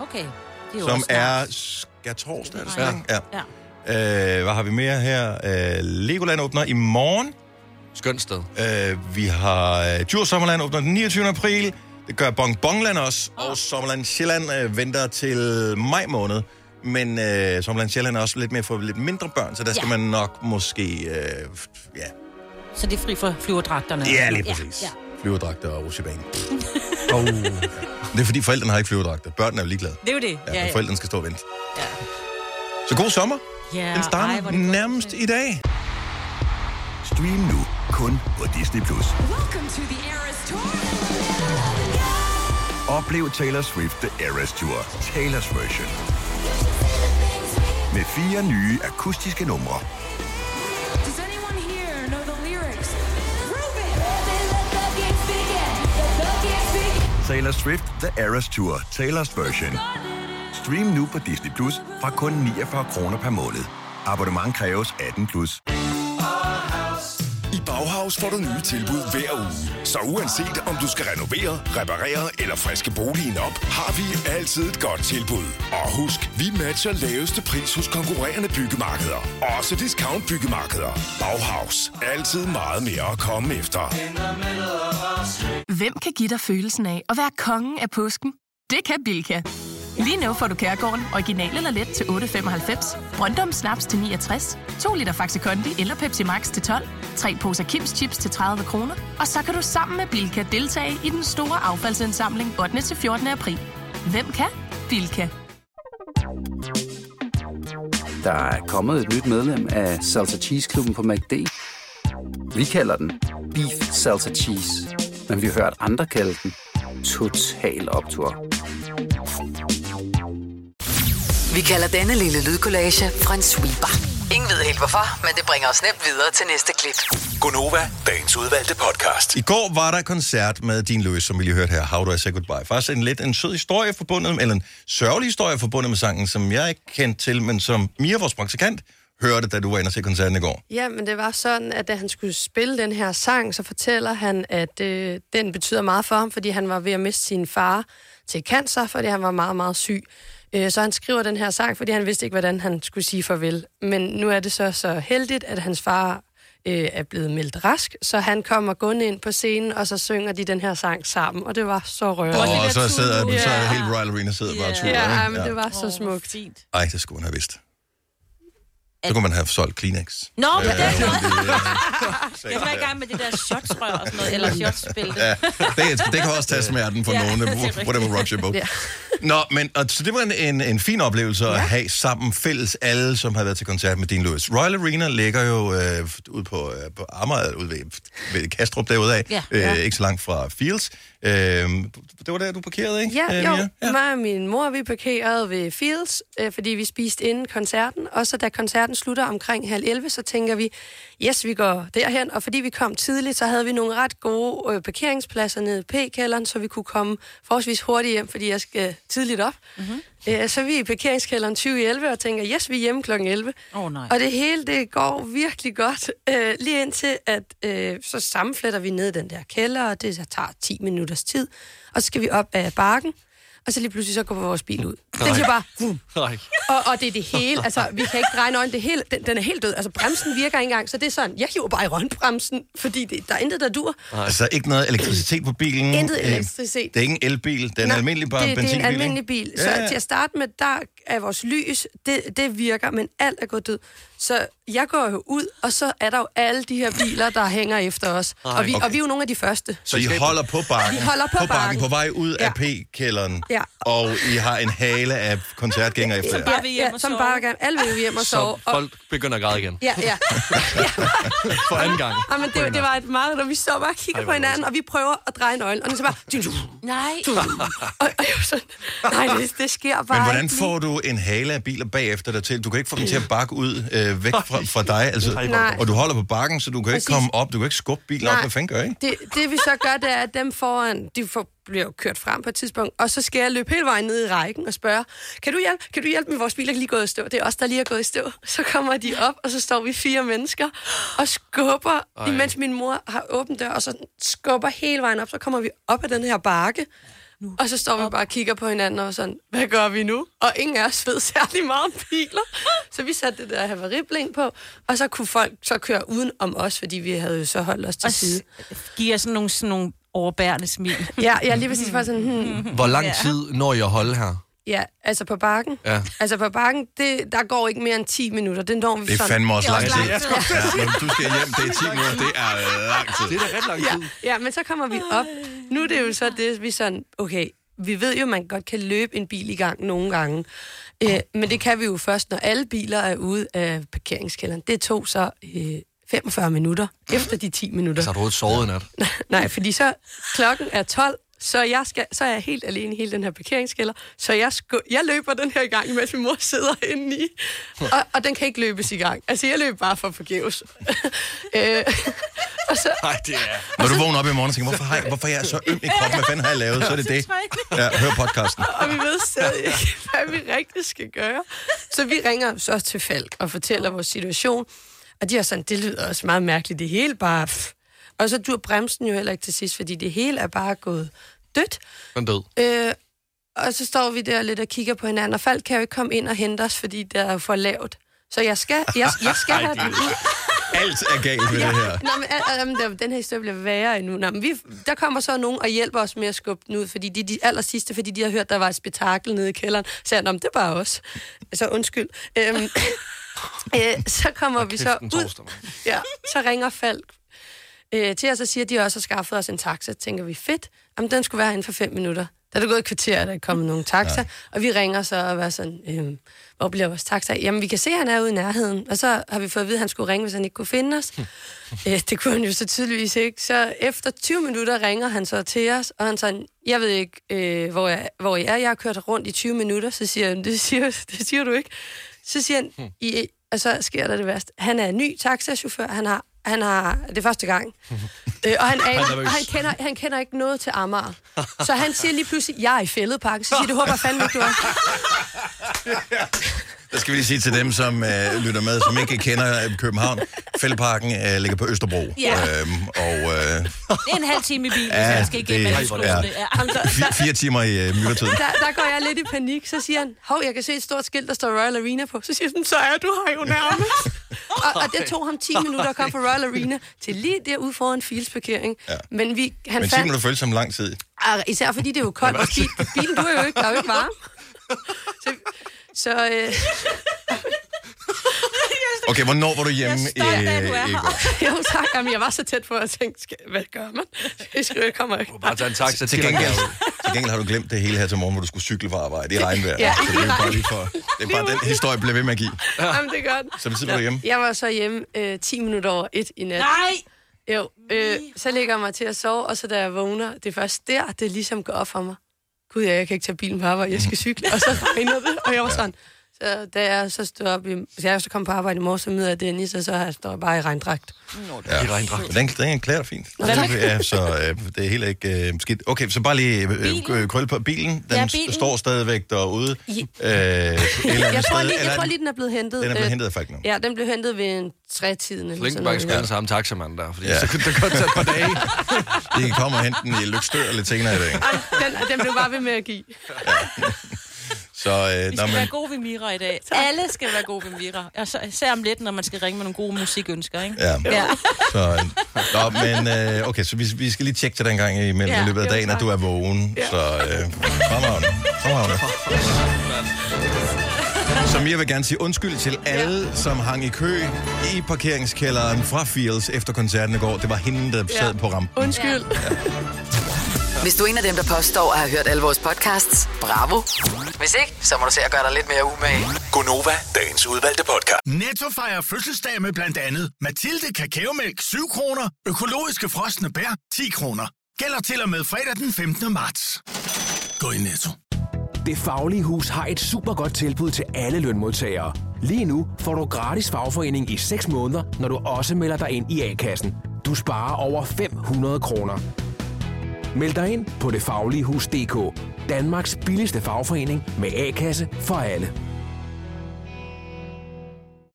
[SPEAKER 2] Okay. Det er jo
[SPEAKER 1] som
[SPEAKER 2] også snart.
[SPEAKER 1] er skærtorsdag. er det sådan,
[SPEAKER 2] Ja.
[SPEAKER 1] ikke? Ja.
[SPEAKER 2] Ja.
[SPEAKER 1] Øh, hvad har vi mere her? Øh, Legoland åbner i morgen.
[SPEAKER 3] Skønt sted.
[SPEAKER 1] Øh, vi har øh, Djurs Sommerland åbner den 29. april. Det gør Bongbongland også, og Sommerland Sjælland øh, venter til maj måned. Men øh, Sommerland Sjælland er også lidt mere for lidt mindre børn, så der skal
[SPEAKER 2] Ja.
[SPEAKER 1] man nok måske... Øh, f- ja,
[SPEAKER 2] Så det er fri for flyverdragterne.
[SPEAKER 1] ja, lige præcis. Ja,
[SPEAKER 2] Ja,
[SPEAKER 1] ja. Flyverdragter og rutsjebane. oh. Det er fordi forældrene har ikke flyverdragter. Børnene er jo ligeglade.
[SPEAKER 2] Det er jo det.
[SPEAKER 1] Ja, ja, ja. Forældrene skal stå og vente.
[SPEAKER 2] Ja.
[SPEAKER 1] Så god sommer.
[SPEAKER 2] ja.
[SPEAKER 1] Den starter
[SPEAKER 2] ej, hvor er det godt.
[SPEAKER 1] nærmest i dag.
[SPEAKER 5] Stream nu kun på Disney+. Plus. Oplev Taylor Swift The Eras Tour, Taylor's version. Med fire nye akustiske numre. Taylor Swift The Eras Tour, Taylor's version. Stream nu på Disney Plus fra kun 49 kroner per måned. Abonnement kræves 18 plus.
[SPEAKER 6] I Bauhaus får du nye tilbud hver uge. Så uanset om du skal renovere, reparere eller friske boligen op, har vi altid et godt tilbud. Og husk, vi matcher laveste pris hos konkurrerende byggemarkeder. Også discount byggemarkeder. Bauhaus. Altid meget mere at komme efter.
[SPEAKER 7] Hvem kan give dig følelsen af at være kongen af påsken? Det kan Bilka! Lige nu får du Kærgården original eller let til 8.95, Brøndum Snaps til 69, 2 liter Faxi Kondi eller Pepsi Max til 12, 3 poser Kims Chips til 30 kroner, og så kan du sammen med Bilka deltage i den store affaldsindsamling 8. til 14. april. Hvem kan? Bilka.
[SPEAKER 8] Der er kommet et nyt medlem af Salsa Cheese Klubben på MACD. Vi kalder den Beef Salsa Cheese, men vi har hørt andre kalde den Total Optor.
[SPEAKER 4] Vi kalder denne lille lydkollage en sweeper. Ingen ved helt hvorfor, men det bringer os nemt videre til næste klip.
[SPEAKER 6] Gonova. Dagens udvalgte podcast.
[SPEAKER 1] I går var der koncert med Dean Lewis, som vi lige hørte her, How Do I Say Goodbye. Faktisk en lidt en sød historie forbundet, med- eller en sørgelig historie forbundet med sangen, som jeg ikke kendte til, men som Mia, vores praktikant, hørte, da du var inde og se koncerten i går.
[SPEAKER 9] Ja, men det var sådan, at da han skulle spille den her sang, så fortæller han, at øh, den betyder meget for ham, fordi han var ved at miste sin far til cancer, fordi han var meget, meget syg. Øh, så han skriver den her sang, fordi han vidste ikke, hvordan han skulle sige farvel. Men nu er det så så heldigt, at hans far øh, er blevet meldt rask, så han kommer gående ind på scenen, og så synger de den her sang sammen, og det var så rørende.
[SPEAKER 1] Og så sidder
[SPEAKER 2] tur nu.
[SPEAKER 1] så
[SPEAKER 2] Ja.
[SPEAKER 1] er hele Royal Arena sidder bare og turer,
[SPEAKER 9] Ja, ej,
[SPEAKER 1] ikke?
[SPEAKER 9] men det var så smukt.
[SPEAKER 2] Fint.
[SPEAKER 1] Ej, det skulle man have vidst. Så kunne man have solgt Kleenex.
[SPEAKER 2] Nå, på den måde. Jeg var i
[SPEAKER 1] Ja,
[SPEAKER 2] gang med det der shotsrør og sådan noget, eller shotsspil.
[SPEAKER 1] det, det kan også tage smerten for
[SPEAKER 2] Ja,
[SPEAKER 1] nogen,
[SPEAKER 2] det er rigtigt.
[SPEAKER 1] whatever rocks your boat. Nå, men og, så det var en, en, en fin oplevelse at have sammen fælles alle, som havde været til koncert med Dean Lewis. Royal Arena ligger jo øh, ude på, øh, på Amager, ude ved, ved Kastrup derude af,
[SPEAKER 2] Ja.
[SPEAKER 1] øh, ikke så langt fra Fields. Øh, det var der, du parkerede, ikke?
[SPEAKER 9] Ja,
[SPEAKER 1] øh,
[SPEAKER 9] jo.
[SPEAKER 1] Mia?
[SPEAKER 9] Ja. Mig og min mor, vi parkerede ved Fields, øh, fordi vi spiste inden koncerten. Og så da koncerten slutter omkring halv 11, så tænker vi, yes, vi går derhen. Og fordi vi kom tidligt, så havde vi nogle ret gode øh, parkeringspladser nede i P-kælderen, så vi kunne komme forholdsvis hurtigt hjem, fordi jeg skal tidligt op. Mm-hmm. Øh, så er vi i parkeringskælderen 20 i 11 og tænker, yes, vi er hjemme kl. 11.
[SPEAKER 2] Åh, nej.
[SPEAKER 9] Og det hele, det går virkelig godt. Øh, lige indtil, at øh, så sammenfletter vi ned i den der kælder, og det tager 10 minutters tid. Og så skal vi op ad bakken, og så lige pludselig så går vores bil ud. Den siger bare, vum.
[SPEAKER 3] Nej.
[SPEAKER 9] Og, og det er det hele, altså vi kan ikke dreje nøglen, det hele, den, den er helt død. Altså bremsen virker ikke engang, så det er sådan, jeg hiver bare i røntbremsen, fordi det, der er intet, der dur.
[SPEAKER 1] Altså ikke noget elektricitet på bilen.
[SPEAKER 9] Intet
[SPEAKER 1] Øh,
[SPEAKER 9] elektricitet.
[SPEAKER 1] Det er ikke en elbil, det er en
[SPEAKER 9] Nej,
[SPEAKER 1] almindelig bare
[SPEAKER 9] det, det er en
[SPEAKER 1] benzinbil, ikke?
[SPEAKER 9] almindelig bil. Så
[SPEAKER 1] Ja, ja.
[SPEAKER 9] til at starte med, der er vores lys, det, det virker, men alt er gået død. Så jeg går jo ud, og så er der jo alle de her biler, der hænger efter os.
[SPEAKER 1] Ej.
[SPEAKER 9] Og vi,
[SPEAKER 1] Okay.
[SPEAKER 9] og vi er jo nogle af de første.
[SPEAKER 1] Så I holder på bakken,
[SPEAKER 9] Vi holder på
[SPEAKER 1] på, bakken.
[SPEAKER 9] bakken.
[SPEAKER 1] på vej ud af P-kælderen,
[SPEAKER 9] Ja.
[SPEAKER 1] og I har en hale af koncertgængere efter jer.
[SPEAKER 9] Ja, ja, som bare gerne, alle vil jo hjem og sove.
[SPEAKER 3] Så
[SPEAKER 9] Og,
[SPEAKER 3] folk begynder at græde igen.
[SPEAKER 9] ja, ja.
[SPEAKER 3] For anden gang.
[SPEAKER 9] Ej, men det, det var et meget, og vi står bare og kigger
[SPEAKER 3] Ej,
[SPEAKER 9] Ej,
[SPEAKER 3] hvor
[SPEAKER 9] på hinanden, og vi prøver at dreje nøglen, og den så bare...
[SPEAKER 2] Nej.
[SPEAKER 9] Og, og jeg var sådan, nej, det, det sker bare
[SPEAKER 1] Men hvordan
[SPEAKER 9] ikke lige."
[SPEAKER 1] får du en hale af biler bagefter dig til? Du kan ikke få dem til at bakke ud øh, væk fra, fra dig. Altså,
[SPEAKER 9] Nej.
[SPEAKER 1] og du holder på bakken, så du kan ikke
[SPEAKER 9] Præcis.
[SPEAKER 1] komme op. Du kan ikke skubbe bilen op.
[SPEAKER 9] Nej.
[SPEAKER 1] Hvad fanden gør I?
[SPEAKER 9] Det, det vi så gør, det er, at dem foran, de får, bliver jo kørt frem på et tidspunkt, og så skal jeg løbe hele vejen ned i rækken og spørge, kan du hjælpe, kan du hjælpe med vores bil, er lige gået i stå? Det er os, der lige er gået i stå. Så kommer de op, og så står vi fire mennesker og skubber, Ej. imens min mor har åbent dør, og så skubber hele vejen op, så kommer vi op ad den her bakke, og så står vi bare og kigger på hinanden og sådan, hvad gør vi nu? Og ingen af os ved særlig meget om biler. Så vi satte det der havaribling på, og så kunne folk så køre uden om os, fordi vi havde jo så holdt os til
[SPEAKER 2] Og
[SPEAKER 9] side.
[SPEAKER 2] s- giver sådan nogle, sådan nogle overbærende smil.
[SPEAKER 9] Ja, ja lige præcis. Bare sådan, hmm,
[SPEAKER 3] Hvor lang tid når jeg at holde her?
[SPEAKER 9] ja, altså på bakken.
[SPEAKER 3] Ja.
[SPEAKER 9] Altså på bakken, det, der går ikke mere end 10 minutter. Det når vi
[SPEAKER 1] Det er
[SPEAKER 9] sådan.
[SPEAKER 1] fandme også
[SPEAKER 2] Det er
[SPEAKER 1] lang
[SPEAKER 2] også
[SPEAKER 1] tid.
[SPEAKER 2] lang tid.
[SPEAKER 1] Ja, når du skal hjem, det er 10 minutter. Det er øh, lang tid.
[SPEAKER 3] Det er da ret lang tid.
[SPEAKER 9] Ja, ja, men så kommer vi op. Nu er det jo så det, vi sådan, okay, vi ved jo, man godt kan løbe en bil i gang nogle gange. Øh, men det kan vi jo først, når alle biler er ude af parkeringskælderen. Det tog så øh, 45 minutter efter de 10
[SPEAKER 3] Så
[SPEAKER 9] minutter.
[SPEAKER 3] Altså, har du ikke sovet i nat.
[SPEAKER 9] Nej, fordi så klokken er 12, så, jeg skal, så er jeg helt alene i hele den her parkeringskælder. Så jeg, sku, jeg løber den her i gang, mens min mor sidder inde i. Og, og den kan ikke løbes i gang. Altså, jeg løber bare for forgæves. øh, og så,
[SPEAKER 3] Nej, det er...
[SPEAKER 1] Når du vågner op i morgen og tænker, hvorfor, har jeg, hvorfor er jeg så øm i kroppen? Hvad fanden har jeg lavet? Så er det det. Ja, hør podcasten.
[SPEAKER 9] og vi ved stadig ikke, hvad vi rigtig skal gøre. Så vi ringer så til Falk og fortæller vores situation. Og de er sådan, det lyder også meget mærkeligt, det hele bare... Pff. Og så dur bremsen jo heller ikke til sidst, fordi det hele er bare gået dødt.
[SPEAKER 3] Den død.
[SPEAKER 9] Øh, og så står vi der lidt og kigger på hinanden, og folk kan jo ikke komme ind og hente os, fordi det er jo for lavt. Så jeg skal, jeg, jeg skal have den ud.
[SPEAKER 1] Alt er galt ved det her.
[SPEAKER 9] Nå, men, al- al- jamen, den her historie bliver værre endnu. Nå, men vi, der kommer så nogen og hjælper os med at skubbe den ud, fordi de, de aller sidste, fordi de har hørt, der var et spektakel nede i kælderen. Så jeg, "Nå, men det er bare os. Så undskyld. Øhm, øh, så kommer vi så
[SPEAKER 3] Kæft, en
[SPEAKER 9] ud.
[SPEAKER 3] torsdag, mand.
[SPEAKER 9] Ja, så ringer Falk øh, til os og siger, at de også har skaffet os en taxa. Tænker vi, fedt. Jamen, den skulle være herinde for fem minutter. Der er det gået et kvarter, og der er kommet nogle taxa. Ja. Og vi ringer så og er sådan, øh, hvor bliver vores taxa? af? Jamen, vi kan se, at han er ude i nærheden. Og så har vi fået at vide, at han skulle ringe, hvis han ikke kunne finde os. øh, det kunne han jo så tydeligvis ikke. Så efter 20 minutter ringer han så til os, og han sådan, jeg ved ikke, øh, hvor, jeg, hvor I er. Jeg har kørt rundt i 20 minutter. Så siger han, det siger, det siger du ikke. Så siger
[SPEAKER 3] Hmm.
[SPEAKER 9] han, I, og så sker der det værste. Han er ny taxachauffør. Han har, han har det er første gang. Øh, og han, aner,
[SPEAKER 3] er nervøs.
[SPEAKER 9] han, kender, han kender ikke noget til Amager. Så han siger lige pludselig, jeg er i fældeparken. Så siger de, det håber jeg fandme ikke, du er.
[SPEAKER 1] Der skal vi lige sige til dem, som øh, lytter med, som ikke kender øh, København. Fældeparken øh, ligger på Østerbro.
[SPEAKER 2] Ja.
[SPEAKER 1] Øhm, og øh,
[SPEAKER 2] Det er en halv time i bilen,
[SPEAKER 1] Ja,
[SPEAKER 2] så jeg skal
[SPEAKER 1] det-
[SPEAKER 2] igennem alle skolerne.
[SPEAKER 1] ja.
[SPEAKER 2] Ja.
[SPEAKER 1] fi- fire timer i øh, myldretid.
[SPEAKER 9] Der, der går jeg lidt i panik. Så siger han, hov, jeg kan se et stort skilt, der står Royal Arena på. Så siger han, så er du her jo nærmest. og, og det tog ham 10 minutter at komme fra Royal Arena til lige derude foran Fields parkering. Ja. Men, vi, han
[SPEAKER 1] Men 10
[SPEAKER 9] fandt,
[SPEAKER 1] minutter føles som lang tid.
[SPEAKER 9] Ah, Især fordi det er jo koldt, og bil, bilen du er jo ikke, der er jo ikke varme. Så, så øh,
[SPEAKER 1] Okay, hvornår var du hjemme
[SPEAKER 2] Jeg er stolt af, at du er
[SPEAKER 1] øh, i
[SPEAKER 2] her.
[SPEAKER 1] går?
[SPEAKER 9] jo tak, jamen, jeg var så tæt på at tænke, skal, hvad gør man? Jeg skal jo ikke komme
[SPEAKER 3] Bare tage en taxa
[SPEAKER 1] Til gengæld, til gengæld har du glemt det hele her til morgen, hvor du skulle cykle fra arbejde i regnvejr.
[SPEAKER 9] Ja,
[SPEAKER 1] så det er
[SPEAKER 9] i
[SPEAKER 1] jo bare
[SPEAKER 9] regn.
[SPEAKER 1] lige for... Det er bare den historie, bliver ved med at give.
[SPEAKER 9] Jamen, det er godt.
[SPEAKER 1] Så vi sidder du hjemme.
[SPEAKER 9] Jeg var så hjemme øh, 10 minutter over et i nat.
[SPEAKER 2] Nej!
[SPEAKER 9] Jo, øh, så ligger jeg mig til at sove, og så da jeg vågner, det er først der, det ligesom går op for mig. Gud, ja, jeg kan ikke tage bilen på arbejde, jeg skal cykle, og så regner det, og jeg var sådan. Så da jeg så stod op, i, så jeg så kom på arbejde i morgen, så møder jeg Dennis, og så har jeg- står jeg bare i regndragt.
[SPEAKER 3] I regndragt.
[SPEAKER 1] Den, den klæder dig fint. Ja, så øh, det er heller ikke øh, skidt. Okay, så bare lige øh, øh, krølle på bilen. Den
[SPEAKER 2] Ja,
[SPEAKER 1] ja,
[SPEAKER 2] bilen.
[SPEAKER 1] bilen. står stadigvæk derude. Øh, et eller andet
[SPEAKER 9] Jeg tror,
[SPEAKER 1] sted.
[SPEAKER 9] lige,
[SPEAKER 1] Eller
[SPEAKER 9] jeg
[SPEAKER 1] er
[SPEAKER 9] tror
[SPEAKER 1] den-
[SPEAKER 9] lige, den er blevet hentet.
[SPEAKER 1] Den er
[SPEAKER 9] øh,
[SPEAKER 1] blevet hentet af folk nu.
[SPEAKER 9] Ja, den blev hentet ved en tretiden eller sådan
[SPEAKER 3] Linkenbank
[SPEAKER 9] noget.
[SPEAKER 3] skal have den samme taxamand der, fordi
[SPEAKER 1] Ja.
[SPEAKER 3] ja. så kunne det godt tage et par dage.
[SPEAKER 1] De kan komme og hente den i Lykstør lidt senere i dag.
[SPEAKER 9] Ej, den, den blev bare ved med at give.
[SPEAKER 1] Så, øh,
[SPEAKER 2] Vi
[SPEAKER 1] nå,
[SPEAKER 2] skal
[SPEAKER 1] men,
[SPEAKER 2] være gode ved Mira i dag. Alle skal være gode ved Mira. Og så, især om lidt, når man skal ringe med nogle gode musikønsker, ikke?
[SPEAKER 1] ja.
[SPEAKER 2] Ja.
[SPEAKER 1] Så, øh, nå, men øh, okay, så vi, vi skal lige tjekke til den gang imellem
[SPEAKER 2] Ja,
[SPEAKER 1] i løbet af
[SPEAKER 9] jo,
[SPEAKER 1] dagen, at
[SPEAKER 9] tak.
[SPEAKER 1] du er vågen. Så øh, fremragende. Fremragende. Så Mia vil gerne sige undskyld til alle, som hang i kø i parkeringskælderen fra Fields efter koncerten i går. Det var hende, der sad på rampen.
[SPEAKER 9] Undskyld.
[SPEAKER 4] Hvis du er en af dem, der påstår at have hørt alle vores podcasts, bravo. Hvis ikke, så må du se at gøre dig lidt mere umage.
[SPEAKER 10] Gonova, dagens udvalgte podcast.
[SPEAKER 11] Netto fejrer fødselsdag med blandt andet Mathilde Kakaomælk 7 kroner, økologiske frosne bær 10 kroner. Gælder til og med fredag den 15. marts. Gå i Netto.
[SPEAKER 12] Det Faglige Hus har et super godt tilbud til alle lønmodtagere. Lige nu får du gratis fagforening i 6 måneder, når du også melder dig ind i A-kassen. Du sparer over 500 kroner. Meld dig ind på detfagligehus.dk. Danmarks billigste fagforening med A-kasse for alle.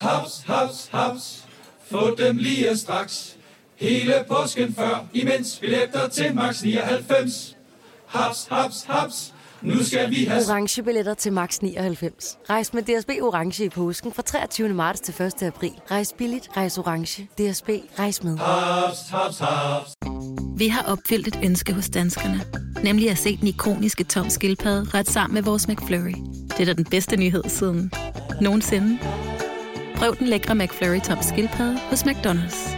[SPEAKER 13] Haps, haps, haps. Få dem lige straks. Hele påsken før, imens billetter til max 99. Haps, haps, haps. Nu skal vi have...
[SPEAKER 14] orange billetter til max 99. Rejs med DSB orange i påsken fra 23. marts til 1. april. Rejs billigt, rejs orange. DSB rejs med.
[SPEAKER 13] Haps, haps, haps.
[SPEAKER 15] Vi har opfyldt et ønske hos danskerne. Nemlig at se den ikoniske tom skildpadde ret sammen med vores McFlurry. Det er da den bedste nyhed siden nogensinde. Prøv den lækre McFlurry tom skildpadde hos McDonald's.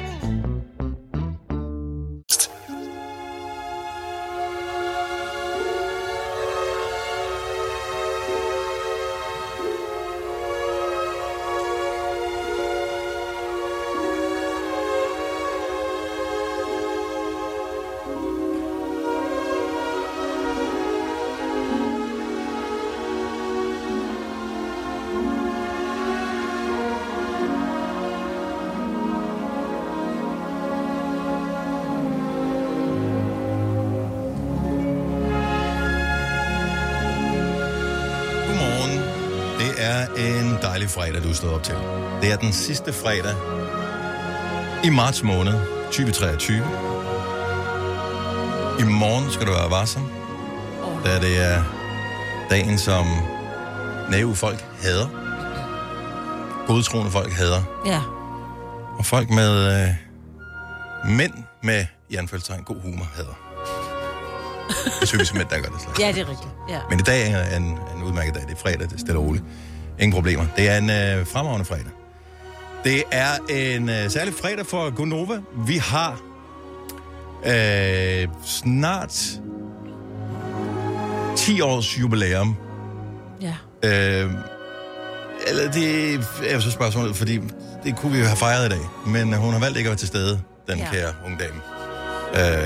[SPEAKER 1] Godmorgen. Det er en dejlig fredag, du er stået op til. Det er den sidste fredag i marts måned 2023. I morgen skal du være varsom, da det er dagen, som naive folk hader. Godtroende folk hader.
[SPEAKER 2] Ja.
[SPEAKER 1] Og folk med... Øh, mænd med, i anførselstegn, god humor hader. Det synes mænd, der gør det slags.
[SPEAKER 2] Ja, det er rigtigt. Ja.
[SPEAKER 1] Men i dag er en, en udmærket dag. Det er fredag, det er stille og roligt. Ingen problemer. Det er en øh, fremragende fredag. Det er en øh, særlig fredag for Gonova. Vi har øh, snart 10 års jubilæum.
[SPEAKER 2] Ja.
[SPEAKER 1] Øh, eller det er jo så spørgsmålet, fordi det kunne vi jo have fejret i dag. Men øh, hun har valgt ikke at være til stede, den
[SPEAKER 16] Ja.
[SPEAKER 1] ja. kære unge dame.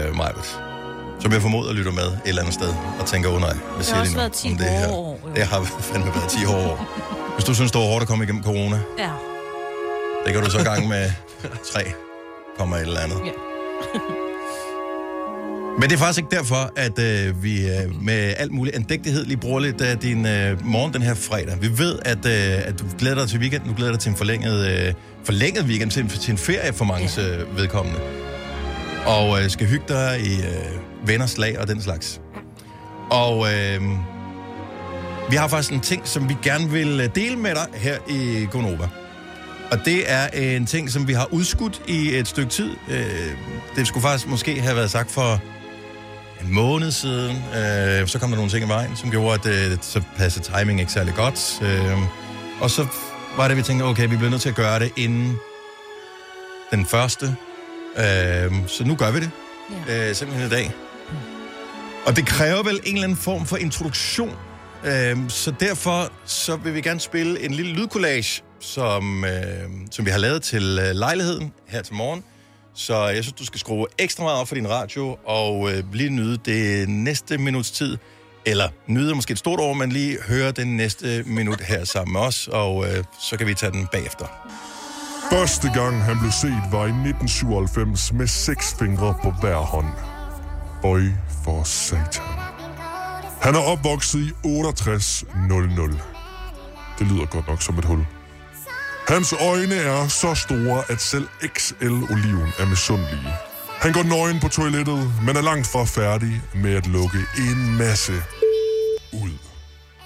[SPEAKER 1] Øh, Majbet. Som jeg formoder lytter med et eller andet sted og tænker under af. Hvad
[SPEAKER 16] Det
[SPEAKER 1] siger
[SPEAKER 16] har
[SPEAKER 1] de
[SPEAKER 16] også
[SPEAKER 1] nu
[SPEAKER 16] været 10
[SPEAKER 1] om det her?
[SPEAKER 16] hårde år, jo.
[SPEAKER 1] Det har fandme været 10 hårde år. Hvis du synes, det var hårdt at komme igennem corona,
[SPEAKER 2] Ja.
[SPEAKER 1] det kan du så gange med 3, kommer et eller andet.
[SPEAKER 2] Ja.
[SPEAKER 1] Men det er faktisk ikke derfor, at øh, vi øh, med alt mulig andægtighed lige bruger lidt af din øh, morgen den her fredag. Vi ved, at, øh, at du glæder dig til weekenden, du glæder dig til en forlænget, øh, forlænget weekend, til, en- til en ferie for mange øh, vedkommende. Og øh, skal hygge dig i øh, venners lag og den slags. Og øh, vi har faktisk en ting, som vi gerne vil øh, dele med dig her i Gonova. Og det er en ting, som vi har udskudt i et stykke tid. Øh, det skulle faktisk måske have været sagt for en måned siden. Øh, så kom der nogle ting i vejen, som gjorde, at øh, så passede timing ikke særlig godt. Øh, og så var det, vi tænkte, okay, vi bliver nødt til at gøre det inden den første. Øh, så nu gør vi det. Ja. Øh, simpelthen i dag. Og det kræver vel en eller anden form for introduktion. Øhm, så derfor så vil vi gerne spille en lille lydkollage, som, øh, som vi har lavet til øh, lejligheden her til morgen. Så jeg synes, du skal skrue ekstra meget op for din radio og øh, lige nyde det næste minuts tid. Eller nyde er måske et stort ord, men lige høre den næste minut her sammen med os, og øh, så kan vi tage den bagefter.
[SPEAKER 17] Første gang han blev set var i 1997 med seks fingre på hver hånd. Bøj for satan. Han er opvokset i 6800. Det lyder godt nok som et hul. Hans øjne er så store, at selv XL-oliven er misundelige. Han går nøgen på toilettet, men er langt fra færdig med at lukke en masse ud.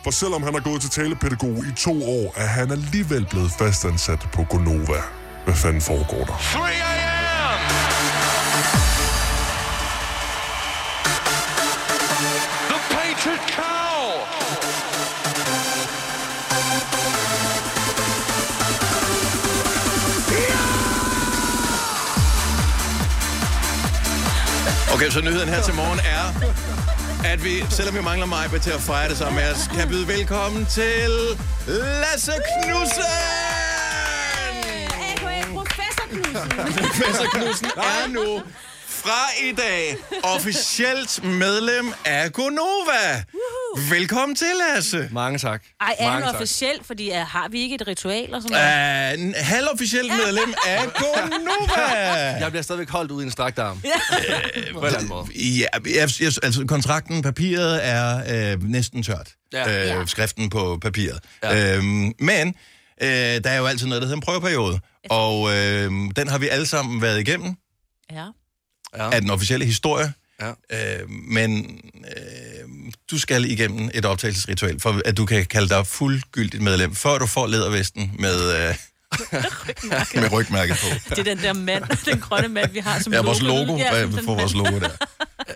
[SPEAKER 17] For selvom han har gået til talepædagog i to år, er han alligevel blevet fastansat på Gonova. Hvad fanden foregår der?
[SPEAKER 16] The Patriot Cow!
[SPEAKER 1] Okay, så nyheden her til morgen er, at vi, selvom vi mangler mig til at fejre det sammen med os, kan byde velkommen til Lasse Knudsen!
[SPEAKER 16] Professor Knudsen.
[SPEAKER 1] Professor Knudsen er nu fra i dag officielt medlem af Gonova. Velkommen til, Lasse.
[SPEAKER 3] Mange tak.
[SPEAKER 2] Ej, er han officielt? Fordi uh, har vi ikke et ritual og sådan noget?
[SPEAKER 1] Uh, halvofficielt medlem af Gonova.
[SPEAKER 3] Jeg bliver stadigvæk holdt ude i en strakt arm. På en eller anden måde.
[SPEAKER 1] Ja, jeg, jeg, altså kontrakten, papiret er øh, næsten tørt.
[SPEAKER 3] Ja.
[SPEAKER 1] Øh, skriften på papiret. Ja. Øhm, men øh, der er jo altid noget, der hedder en prøveperiode. Og øh, den har vi alle sammen været igennem.
[SPEAKER 2] Ja.
[SPEAKER 1] ja. af den officielle historie. Ja. Øh, men øh, du skal igennem et optagelsesritual, for at du kan kalde dig fuldgyldigt medlem, før du får lædervesten med, øh, med rygmærket på.
[SPEAKER 2] Det er den der mand, den grønne mand, vi har som
[SPEAKER 1] Ja, vores logo. Ja,
[SPEAKER 2] den
[SPEAKER 1] for vores
[SPEAKER 2] mand.
[SPEAKER 1] logo der.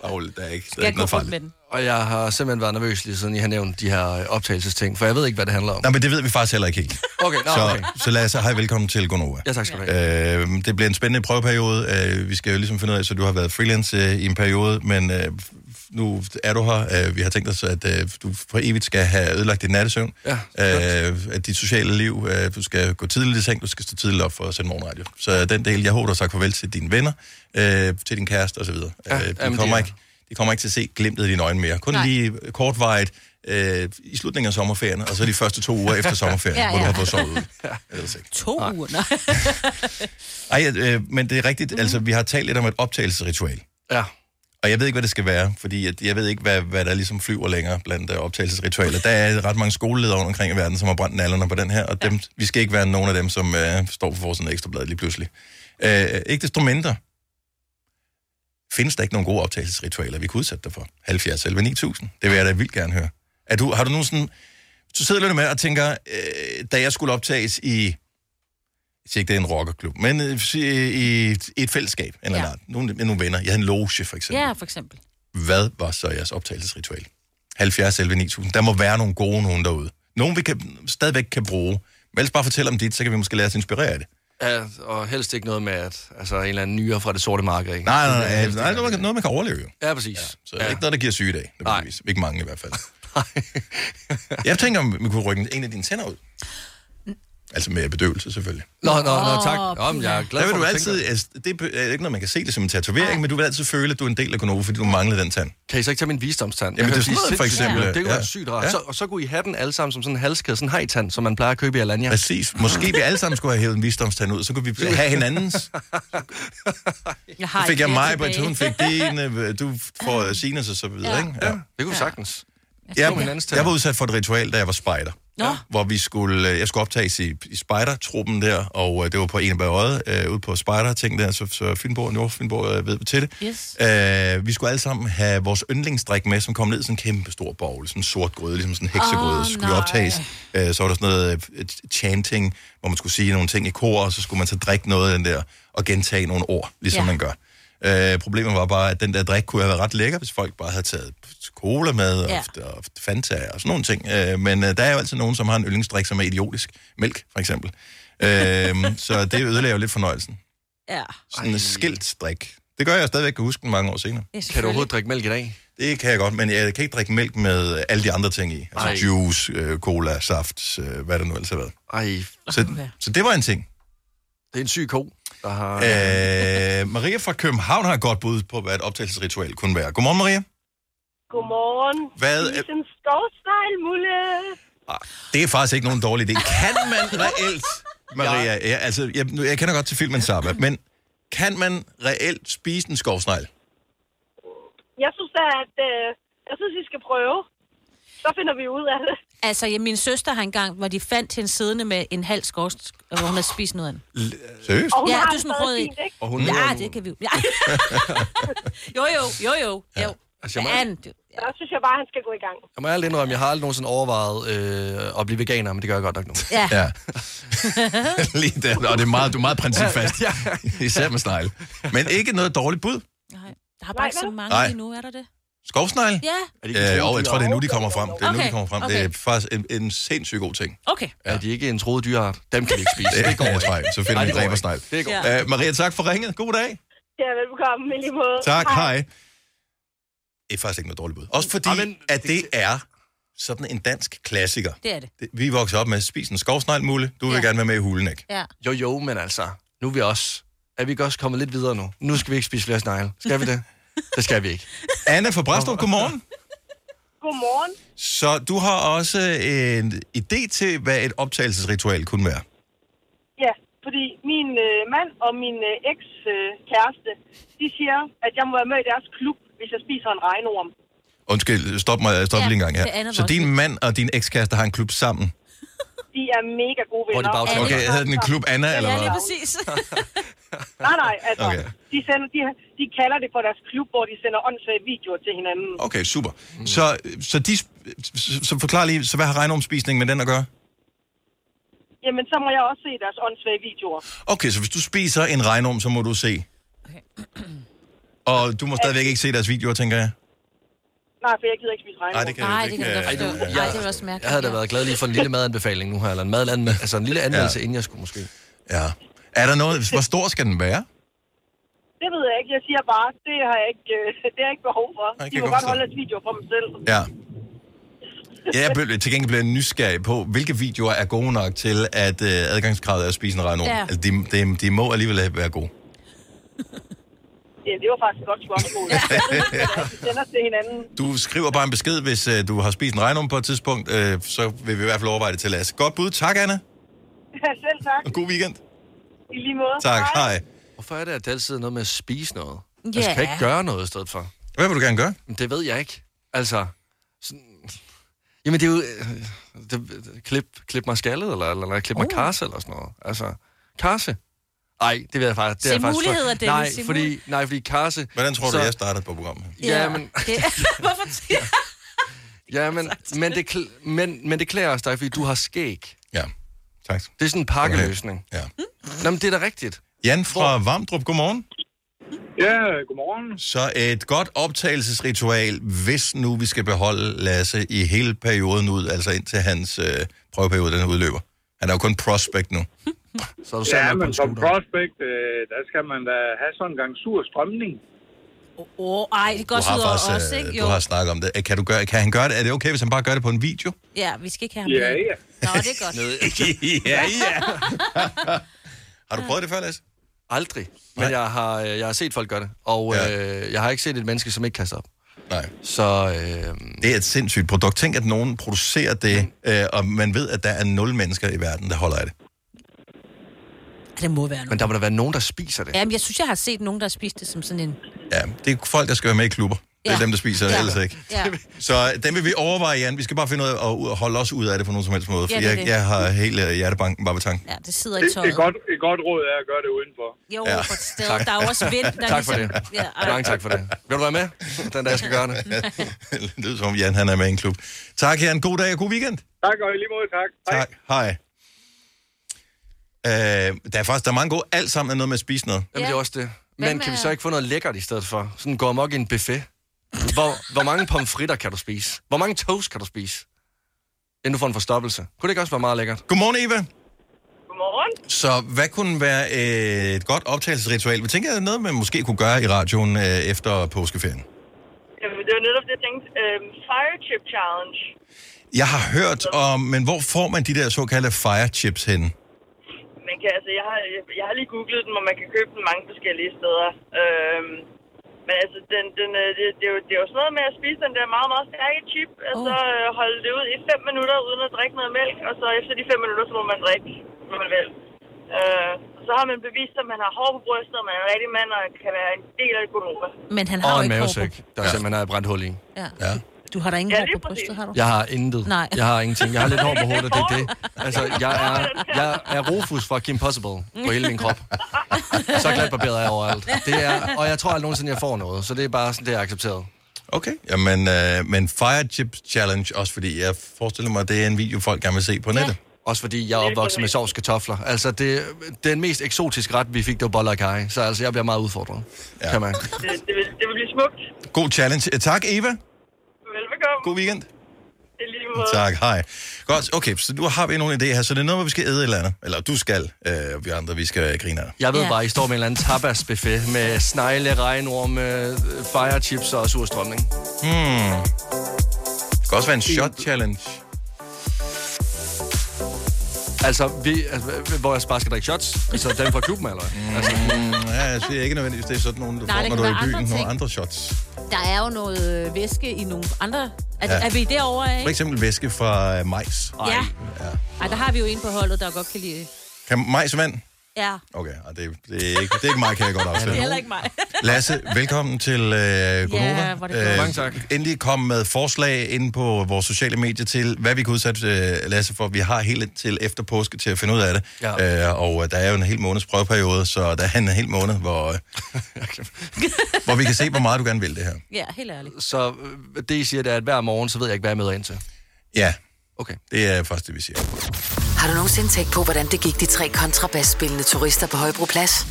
[SPEAKER 1] Aul, der er ikke, der
[SPEAKER 2] jeg
[SPEAKER 1] er ikke
[SPEAKER 2] gå
[SPEAKER 1] noget
[SPEAKER 2] rundt
[SPEAKER 1] fejl.
[SPEAKER 2] med den?
[SPEAKER 3] Og jeg har simpelthen været nervøs, lige siden I har nævnt de her øh, optagelsesting, for jeg ved ikke, hvad det handler om.
[SPEAKER 1] Nej, men det ved vi faktisk heller ikke helt.
[SPEAKER 3] Okay, nå,
[SPEAKER 1] så,
[SPEAKER 3] okay.
[SPEAKER 1] så lad os hej, velkommen til Gonova.
[SPEAKER 3] Ja, tak skal du
[SPEAKER 1] have. Øh, det bliver en spændende prøveperiode. Øh, vi skal jo ligesom finde ud af, så du har været freelance øh, i en periode, men øh, f- nu er du her. Øh, vi har tænkt os, at øh, du for evigt skal have ødelagt dit nattesøvn.
[SPEAKER 3] Ja,
[SPEAKER 1] øh, at dit sociale liv, øh, du skal gå tidligt i seng, du skal stå tidligt op for at sende morgenradio. Så den del, jeg håber, du har sagt farvel til dine venner, øh, til din kæreste osv. Ja, øh, de,
[SPEAKER 3] jamen,
[SPEAKER 1] kommer
[SPEAKER 3] det er-
[SPEAKER 1] ikke, de kommer ikke til at se glimtet i dine øjne mere. Kun
[SPEAKER 2] Nej.
[SPEAKER 1] Nej. lige kortvejet øh, i slutningen af sommerferien, og så de første to uger efter sommerferien,
[SPEAKER 2] Ja,
[SPEAKER 1] ja, ja. hvor
[SPEAKER 2] ja.
[SPEAKER 1] du har fået sovet ud. Ellers ikke.
[SPEAKER 2] To uger, Uh, nej.
[SPEAKER 1] Ej, øh, men det er rigtigt, mm-hmm. altså vi har talt lidt om et optagelsesritual.
[SPEAKER 3] Ja.
[SPEAKER 1] Og jeg ved ikke, hvad det skal være, fordi jeg, jeg ved ikke, hvad, hvad der ligesom flyver længere blandt uh, optagelsesritualer. Der er ret mange skoleledere rundt omkring i verden, som har brændt nallerne på den her, og dem, vi skal ikke være nogen af dem, som uh, står på forsiden af Ekstrabladet lige pludselig. Uh, ikke desto mindre findes der ikke nogen gode optagelsesritualer, vi kunne udsætte dig for. 70 eller 9000. Det vil jeg da vildt gerne høre. Er du, har du nogen sådan... Du sidder lidt med og tænker, øh, da jeg skulle optages i... Jeg siger ikke, det er en rockerklub, men øh, sig, øh, i et- i et fællesskab. Eller
[SPEAKER 2] Ja.
[SPEAKER 1] ja. nogle, med nogle venner. Jeg havde en loge, for eksempel.
[SPEAKER 2] Ja, for eksempel.
[SPEAKER 1] Hvad var så jeres optagelsesritual? 70 11 9000. Der må være nogle gode nogen derude. Nogen, vi kan, stadigvæk kan bruge. Men ellers bare fortæl om dit, så kan vi måske lade os inspirere af det.
[SPEAKER 3] Ja, og helst ikke noget med, at altså, en eller anden nyere fra det sorte marked, ikke?
[SPEAKER 1] Nej, nej, nej. nej, nej, nej noget, man kan overleve jo.
[SPEAKER 3] Ja, præcis. Ja,
[SPEAKER 1] Så ja. ikke noget, der giver sygedag. Nej. Ikke mange i hvert fald. Nej. jeg tænker, om vi kunne rykke en af dine tænder ud. Altså med bedøvelse, selvfølgelig.
[SPEAKER 3] Nå, nå, nå, tak. Nå, men jeg er glad
[SPEAKER 1] der vil
[SPEAKER 3] for,
[SPEAKER 1] du
[SPEAKER 3] at du tænker.
[SPEAKER 1] altid, altså, det er ikke noget, man kan se det som en tatovering, men du vil altid føle, at du er en del af Konovo, fordi du mangler den tand.
[SPEAKER 3] Kan I så ikke tage min visdomstand?
[SPEAKER 1] Jamen,
[SPEAKER 3] Jeg
[SPEAKER 1] det er
[SPEAKER 3] kan
[SPEAKER 1] sådan noget,
[SPEAKER 3] sige
[SPEAKER 1] for
[SPEAKER 3] sindssygt,
[SPEAKER 1] eksempel.
[SPEAKER 3] jo. Det kunne
[SPEAKER 1] Ja.
[SPEAKER 3] være sygt rart.
[SPEAKER 1] Ja.
[SPEAKER 3] Så, og så kunne I have den alle sammen som sådan en halskæde, sådan en hejtand, som man plejer at købe i Alanya.
[SPEAKER 1] Præcis. Måske vi alle sammen skulle have hævet en visdomstand ud, så kunne vi have hinandens.
[SPEAKER 2] Jeg
[SPEAKER 1] Så
[SPEAKER 2] har
[SPEAKER 1] fik
[SPEAKER 2] ikke flere
[SPEAKER 1] jeg mig, Britt,
[SPEAKER 2] tilbage.
[SPEAKER 1] hun fik din, øh, du får Sinus og så videre,
[SPEAKER 2] Ja.
[SPEAKER 1] ikke? Ja.
[SPEAKER 3] Det kunne vi sagtens.
[SPEAKER 1] Jeg,
[SPEAKER 3] slår hinandens
[SPEAKER 1] jeg var udsat for et ritual, da jeg var spejder.
[SPEAKER 2] Nå.
[SPEAKER 1] Hvor vi skulle, øh, jeg skulle optages i, i spejdertruppen der, og øh, det var på en af øjet, øh, ude på spejderting der, så, så Fynborg, Nordfynborg øh, ved til det.
[SPEAKER 2] Yes.
[SPEAKER 1] Øh, vi skulle alle sammen have vores yndlingsdrik med, som kom ned i sådan en kæmpe stor bogle, sådan en sort gryde, ligesom sådan en heksegrøde,
[SPEAKER 2] Åh,
[SPEAKER 1] oh, skulle
[SPEAKER 2] nej.
[SPEAKER 1] vi optages. Øh, så var der sådan noget øh, et chanting, hvor man skulle sige nogle ting i kor, og så skulle man så drikke noget af den der, og gentage nogle ord, ligesom
[SPEAKER 2] Ja.
[SPEAKER 1] ja. man gør. Øh, problemet var bare, at den der drik kunne have været ret lækker, hvis folk bare havde taget cola med, og,
[SPEAKER 2] Ja.
[SPEAKER 1] ja. og Fanta og sådan nogle ting. Øh, men øh, der er jo altid nogen, som har en yndlingsdrik, som er idiotisk. Mælk, for eksempel. Øh, så det ødelægger jo lidt fornøjelsen.
[SPEAKER 2] Ja.
[SPEAKER 1] Sådan en skilt drik. Det gør jeg stadigvæk, kan huske den mange år senere.
[SPEAKER 2] Ja, selvfølgelig. Kan du overhovedet
[SPEAKER 3] drikke mælk i dag?
[SPEAKER 1] Det kan jeg godt, men jeg kan ikke drikke mælk med øh, alle de andre ting i. Altså
[SPEAKER 3] Ej.
[SPEAKER 1] Ej. juice, øh, cola, saft, øh, hvad der nu ellers har været.
[SPEAKER 3] Ej.
[SPEAKER 1] Så, så det var en ting.
[SPEAKER 3] Det er en syg ko, der har...
[SPEAKER 1] Øh, Maria fra København har et godt bud på, hvad et optagelsesritual kunne være. Godmorgen, Maria.
[SPEAKER 18] Godmorgen.
[SPEAKER 1] Hvad-
[SPEAKER 18] Spis en skovsnegl, Mulle.
[SPEAKER 1] Det er faktisk ikke nogen dårlig idé. Kan man reelt, Maria, ja. Ja, altså, jeg, nu- jeg kender godt til filmen Zappa, men kan man reelt spise en skovsnegl?
[SPEAKER 18] Jeg synes da, at... Øh, jeg synes, I skal prøve. Så finder vi ud af det.
[SPEAKER 2] Altså, ja, min søster har engang, hvor de fandt hende siddende med en halv skorst, og hvor hun havde spist noget af den.
[SPEAKER 1] Seriøst?
[SPEAKER 2] Og hun ja,
[SPEAKER 18] har
[SPEAKER 2] du er
[SPEAKER 18] det
[SPEAKER 2] sådan
[SPEAKER 18] stadig
[SPEAKER 2] rød i.
[SPEAKER 18] fint, ikke?
[SPEAKER 2] Og
[SPEAKER 18] Og
[SPEAKER 2] hun
[SPEAKER 18] hun
[SPEAKER 2] ja,
[SPEAKER 18] er-
[SPEAKER 2] det kan vi jo. Ja. jo, jo, jo, jo. jo.
[SPEAKER 3] Altså, jeg må-
[SPEAKER 2] Ja. du-
[SPEAKER 18] Der synes jeg bare, at han skal gå i gang.
[SPEAKER 3] Jeg må ærligt indrømme, jeg har aldrig nogensinde overvejet øh, at blive veganer, men det gør jeg godt nok nu.
[SPEAKER 18] Ja.
[SPEAKER 1] Ja. Lige der, og det er meget, du er meget principfast. Ja, ja. Især med snegle. Men ikke noget dårligt bud.
[SPEAKER 2] Der har bare ikke så mange
[SPEAKER 1] Nej.
[SPEAKER 2] lige nu, er der det?
[SPEAKER 1] Skovsnegle?
[SPEAKER 2] Ja.
[SPEAKER 1] Øh, og jeg tror, det er nu, de kommer frem. Det er nu,
[SPEAKER 2] Okay,
[SPEAKER 1] de kommer frem. Det er
[SPEAKER 2] okay.
[SPEAKER 1] faktisk en, en sindssygt god ting.
[SPEAKER 2] Okay.
[SPEAKER 1] Ja.
[SPEAKER 3] Er de ikke en troet dyreart? Dem kan vi ikke spise.
[SPEAKER 1] Det, det går
[SPEAKER 3] ikke.
[SPEAKER 1] jeg tror, Så
[SPEAKER 3] Nej,
[SPEAKER 1] finder vi
[SPEAKER 3] det
[SPEAKER 1] en
[SPEAKER 3] går ikke.
[SPEAKER 1] dræbersnegl.
[SPEAKER 3] Det går
[SPEAKER 1] Øh, Maria, tak for ringet. God dag.
[SPEAKER 18] Ja, velkommen i lige måde.
[SPEAKER 1] Tak, hej. det er faktisk ikke noget dårligt bud. Også
[SPEAKER 3] Ah,
[SPEAKER 1] fordi, ja, men, at det er sådan en dansk klassiker.
[SPEAKER 2] Det er det.
[SPEAKER 1] Det- Vi voksede op med, spis en skovsneglmulle, du vil ja. gerne være med i hulen, ikke?
[SPEAKER 2] Ja.
[SPEAKER 3] Jo, jo, men altså, nu er vi også, er vi ikke også kommet lidt videre nu? Nu skal vi ikke spise flere snegle. Skal vi det? Det skal vi ikke.
[SPEAKER 1] Anna fra Brastrup, godmorgen.
[SPEAKER 18] Godmorgen.
[SPEAKER 1] Så du har også øh, en idé til, hvad et optagelsesritual kunne være.
[SPEAKER 18] Ja, fordi min øh, mand og min øh, eks-kæreste, øh, de siger, at jeg må være med i deres klub, hvis jeg spiser en regnorm.
[SPEAKER 1] Undskyld, stop mig, stop
[SPEAKER 18] Ja,
[SPEAKER 1] ja, lige en gang
[SPEAKER 18] det
[SPEAKER 1] her.
[SPEAKER 18] andet
[SPEAKER 1] Så
[SPEAKER 18] var
[SPEAKER 1] din mand og din ekskæreste har en klub sammen.
[SPEAKER 18] De er mega gode venner.
[SPEAKER 1] Okay, hedder den en klub Anna, eller hvad?
[SPEAKER 18] præcis. nej, nej, altså,
[SPEAKER 1] Okay.
[SPEAKER 18] okay. de, sender, de, de kalder det for deres klub, hvor de sender åndssvage videoer til hinanden.
[SPEAKER 1] Okay, super.
[SPEAKER 18] Mm.
[SPEAKER 1] Så, så, de, sp- så, så forklar lige, så hvad har regnomspisningen med den at gøre?
[SPEAKER 18] Jamen, så må jeg også se deres åndssvage videoer.
[SPEAKER 1] Okay, så hvis du spiser en regnorm, så må du se. Og du må stadigvæk ikke se deres videoer, tænker jeg.
[SPEAKER 18] Nej, for jeg gider ikke spise regnorm.
[SPEAKER 1] Nej, det kan jeg Nej, det ikke, kan jeg øh, godt forstå.
[SPEAKER 3] Ej, du- Ej, det
[SPEAKER 18] var også
[SPEAKER 3] Jeg havde da været glad lige for en lille madanbefaling nu her, eller en madanme, altså en lille anmeldelse, ja. inden jeg skulle måske.
[SPEAKER 1] Ja. Er der noget, hvor stor skal den være?
[SPEAKER 18] Det ved jeg ikke. Jeg siger bare, det har jeg ikke, øh, det har jeg ikke behov for.
[SPEAKER 1] jeg
[SPEAKER 18] de
[SPEAKER 1] kan
[SPEAKER 18] må
[SPEAKER 1] godt
[SPEAKER 18] godt
[SPEAKER 1] forstå.
[SPEAKER 18] holde deres videoer for dem selv.
[SPEAKER 1] Ja. Ja, jeg blev, til gengæld blev jeg nysgerrig på, hvilke videoer er gode nok til, at øh, adgangskravet er at spise en regnorm.
[SPEAKER 18] Ja.
[SPEAKER 1] Ja. Altså, de, de, de må alligevel være gode.
[SPEAKER 18] Ja, det var faktisk et godt spørgsmål. de sender til hinanden.
[SPEAKER 1] Du skriver bare en besked, hvis øh, du har spist en regnorm på et tidspunkt, øh, så vil vi i hvert fald overveje det til Lasse. Godt bud. Tak, Anna.
[SPEAKER 18] Ja, selv tak.
[SPEAKER 1] Og god weekend.
[SPEAKER 18] I lige måde.
[SPEAKER 1] Tak. Hej.
[SPEAKER 3] Hvorfor er det, at det altid er noget med at spise noget? Ja.
[SPEAKER 18] Ja.
[SPEAKER 3] Altså, kan jeg ikke gøre noget i stedet for?
[SPEAKER 1] Hvad vil du gerne gøre?
[SPEAKER 3] Det ved jeg ikke. Altså, sådan... Jamen, det er jo... øh, Det, det, klip, klip mig skaldet, eller, eller, eller klip mig oh. karse, eller sådan noget. Altså, karse? Nej, det ved jeg faktisk. Det
[SPEAKER 2] Se
[SPEAKER 3] er jeg faktisk
[SPEAKER 2] muligheder, Dennis,
[SPEAKER 3] Nej,
[SPEAKER 2] se
[SPEAKER 3] fordi, nej, fordi karse...
[SPEAKER 1] Hvordan tror du, jeg startede på programmet?
[SPEAKER 3] Ja, men...
[SPEAKER 2] Det er, hvorfor siger jeg?
[SPEAKER 3] Ja, men, men, det, kl- men, men det klæder også dig, fordi du har skæg.
[SPEAKER 1] Ja, tak.
[SPEAKER 3] Det er sådan en pakkeløsning.
[SPEAKER 1] Ja.
[SPEAKER 3] Nå, men det er da rigtigt.
[SPEAKER 1] Jan fra Vamdrup, godmorgen.
[SPEAKER 19] Ja, godmorgen.
[SPEAKER 1] Så et godt optagelsesritual, hvis nu vi skal beholde Lasse i hele perioden ud, altså indtil hans øh, prøveperiode den udløber. Han er jo kun prospect nu.
[SPEAKER 3] Så du
[SPEAKER 19] ja, men som prospect, øh, der skal man da have sådan en gang sur strømning.
[SPEAKER 2] Åh, oh, ej, det går
[SPEAKER 1] Du
[SPEAKER 2] også
[SPEAKER 1] har
[SPEAKER 2] ud over
[SPEAKER 1] faktisk,
[SPEAKER 2] os, ikke?
[SPEAKER 1] øh,
[SPEAKER 2] Jo.
[SPEAKER 1] du har snakket om det. Øh, Kan, du gøre, kan han gøre det? Er det okay, hvis han bare gør det på en video?
[SPEAKER 2] Ja, vi skal ikke have ham
[SPEAKER 1] Ja,
[SPEAKER 2] med.
[SPEAKER 1] ja.
[SPEAKER 2] Nå, det er godt.
[SPEAKER 1] ja, ja. har du prøvet det før, Lasse?
[SPEAKER 3] Aldrig. Men jeg har, øh, jeg har set folk gøre det, og ja. øh, jeg har ikke set et menneske, som ikke kaster op.
[SPEAKER 1] Nej.
[SPEAKER 3] Så, øh,
[SPEAKER 1] det er et sindssygt produkt. Tænk, at nogen producerer det,
[SPEAKER 3] Mm.
[SPEAKER 1] øh, og man ved, at der er nul mennesker i verden, der holder af det.
[SPEAKER 2] Det må være
[SPEAKER 3] Men der må der være nogen, der spiser det.
[SPEAKER 2] Jamen, jeg synes, jeg har set nogen, der har spist det som sådan en...
[SPEAKER 1] Ja, det er folk, der skal være med i klubber. Det er
[SPEAKER 2] Ja.
[SPEAKER 1] dem, der spiser,
[SPEAKER 2] Ja.
[SPEAKER 1] ja. ellers ikke.
[SPEAKER 2] Ja.
[SPEAKER 1] Så øh, den vil vi overveje, Jan. Vi skal bare finde ud af at u- holde os ud af det på nogen som helst måde.
[SPEAKER 2] Ja,
[SPEAKER 1] For
[SPEAKER 2] det er
[SPEAKER 1] jeg,
[SPEAKER 2] det.
[SPEAKER 1] jeg har hele hjertebanken bare ved tanken.
[SPEAKER 2] Ja, det sidder i
[SPEAKER 19] Et,
[SPEAKER 2] tøjet.
[SPEAKER 19] et, godt, et godt råd er at gøre det udenfor.
[SPEAKER 2] Jo,
[SPEAKER 1] Ja.
[SPEAKER 2] ja. for et sted.
[SPEAKER 1] Tak.
[SPEAKER 2] Der er jo også vind. Der
[SPEAKER 1] Tak for
[SPEAKER 2] ligesom...
[SPEAKER 1] det.
[SPEAKER 2] Ja, ej.
[SPEAKER 3] Mange tak for det. Vil du være med, den dag jeg skal gøre det?
[SPEAKER 1] det lyder som om Jan han er med i en klub. Tak, Jan. God dag og god weekend.
[SPEAKER 19] Tak, og i lige måde tak.
[SPEAKER 1] Tak. Hej. Øh, der er faktisk der er mange gode. Alt sammen er noget med at spise noget.
[SPEAKER 3] Jamen, det er også det.
[SPEAKER 1] Hvad
[SPEAKER 3] Men
[SPEAKER 1] med-
[SPEAKER 3] kan vi så ikke få noget lækkert i stedet for? Sådan gå amok i en buffet. Hvor, hvor mange pomfritter kan du spise? Hvor mange toast kan du spise? Inden du får en forstoppelse. Kunne det ikke også være meget lækkert?
[SPEAKER 1] Godmorgen, Eva.
[SPEAKER 18] Godmorgen.
[SPEAKER 1] Så hvad kunne være øh, et godt optagelsesritual? Vi tænker, noget man måske kunne gøre i radioen øh, efter påskeferien.
[SPEAKER 18] Jamen, det var netop det, jeg tænkte. Øhm, fire chip challenge.
[SPEAKER 1] Jeg har hørt om, men hvor får man de der såkaldte fire chips henne?
[SPEAKER 18] Man kan, altså, jeg har, jeg har lige googlet dem, og man kan købe dem mange forskellige steder. Øhm, men altså, den, den, øh, det, det, er jo, det er jo sådan noget med at spise den der meget, meget stærke chip, og så øh, holde det ud i 5 minutter uden at drikke noget mælk, og så efter de 5 minutter, så må man drikke, hvad man vil. Øh, og så har man bevist, at man har hår på brystet, og man er en rigtig mand, og kan være en del af Gonova.
[SPEAKER 2] Men han har jo
[SPEAKER 3] Og en
[SPEAKER 2] ikke hår på...
[SPEAKER 3] mavesæk, der ja. simpelthen er et brændt hul i.
[SPEAKER 2] Ja.
[SPEAKER 1] ja.
[SPEAKER 2] Du har da ingen ja, hår på brystet, har du?
[SPEAKER 3] Jeg har intet.
[SPEAKER 2] Nej.
[SPEAKER 3] Jeg har ingenting. Jeg har lidt hår på hovedet, og det er det. Altså, jeg er, jeg er Rufus fra Kim Possible på hele min krop. Så glat barberet er jeg overalt. Det er, og jeg tror aldrig nogensinde, jeg får noget, så det er bare sådan, det er accepteret.
[SPEAKER 1] Okay. Jamen, øh, men fire chips challenge, også fordi jeg forestiller mig, at det er en video, folk gerne vil se på nettet.
[SPEAKER 3] Også fordi jeg er opvokset med sovskartofler. Altså, det, den mest eksotiske ret, vi fik, det var boller og kaj. Så altså, jeg bliver meget udfordret. Ja. Kan man.
[SPEAKER 18] Det, det, vil, det vil blive smukt.
[SPEAKER 1] God challenge. Eh, Tak, Øh, Eva.
[SPEAKER 18] Velbekomme.
[SPEAKER 1] God weekend.
[SPEAKER 18] I lige måde.
[SPEAKER 1] Tak, hej. Godt, okay, så du har vi nogle idéer her, så det er noget, hvor vi skal æde et eller andet. Eller du skal, øh, vi andre, vi skal øh, grine af. det.
[SPEAKER 3] Jeg ved
[SPEAKER 1] Ja.
[SPEAKER 3] yeah. bare, I står med en eller anden tapasbuffet med snegle, regnorm, øh, firechips og surstrømning.
[SPEAKER 1] Hmm. Det kan også være en shot challenge.
[SPEAKER 3] Altså, vi, altså, h- h- hvor jeg bare skal drikke shots. Altså, den fra klubben, eller
[SPEAKER 1] Mm.
[SPEAKER 3] hvad? Altså,
[SPEAKER 1] Ja, jeg siger ikke nødvendigvis, det er sådan nogle, du
[SPEAKER 20] Nej,
[SPEAKER 1] får,
[SPEAKER 20] det
[SPEAKER 1] når
[SPEAKER 20] kan
[SPEAKER 1] du er i
[SPEAKER 20] være
[SPEAKER 1] byen.
[SPEAKER 20] andre
[SPEAKER 1] Nogle
[SPEAKER 20] ting.
[SPEAKER 1] andre shots.
[SPEAKER 20] Der er jo noget øh, væske i nogle andre... Er,
[SPEAKER 1] Ja.
[SPEAKER 20] ja. er vi derovre,
[SPEAKER 1] For
[SPEAKER 20] ikke?
[SPEAKER 1] eksempel væske fra øh, majs.
[SPEAKER 20] Ja. Ej, der har vi jo en på holdet, der godt kan lide...
[SPEAKER 1] Kan majsvand?
[SPEAKER 20] Ja,
[SPEAKER 1] Okay, ej, det, det, er ikke, det er ikke mig, kan jeg godt
[SPEAKER 20] det er
[SPEAKER 1] afsløre.
[SPEAKER 20] heller ikke mig.
[SPEAKER 1] Lasse, velkommen til øh, Gunova.
[SPEAKER 20] hvor er det godt. Mange
[SPEAKER 1] tak. Endelig kom med forslag inde på vores sociale medier til, hvad vi kan udsætte øh, Lasse for. Vi har helt til efter påske til at finde ud af det. Ja. Øh, og øh, der er jo en hel måneds prøveperiode, så der er en hel måned, hvor, øh, hvor vi kan se, hvor meget du gerne vil det her.
[SPEAKER 20] Ja, helt ærligt.
[SPEAKER 3] så øh, det, I siger, det er, at hver morgen, så ved jeg ikke, hvad jeg møder ind til.
[SPEAKER 1] Ja.
[SPEAKER 3] Okay.
[SPEAKER 1] Det er først det, vi siger.
[SPEAKER 4] Har du nogensinde tænkt på, hvordan det gik de tre kontrabasspillende turister på Højbroplads?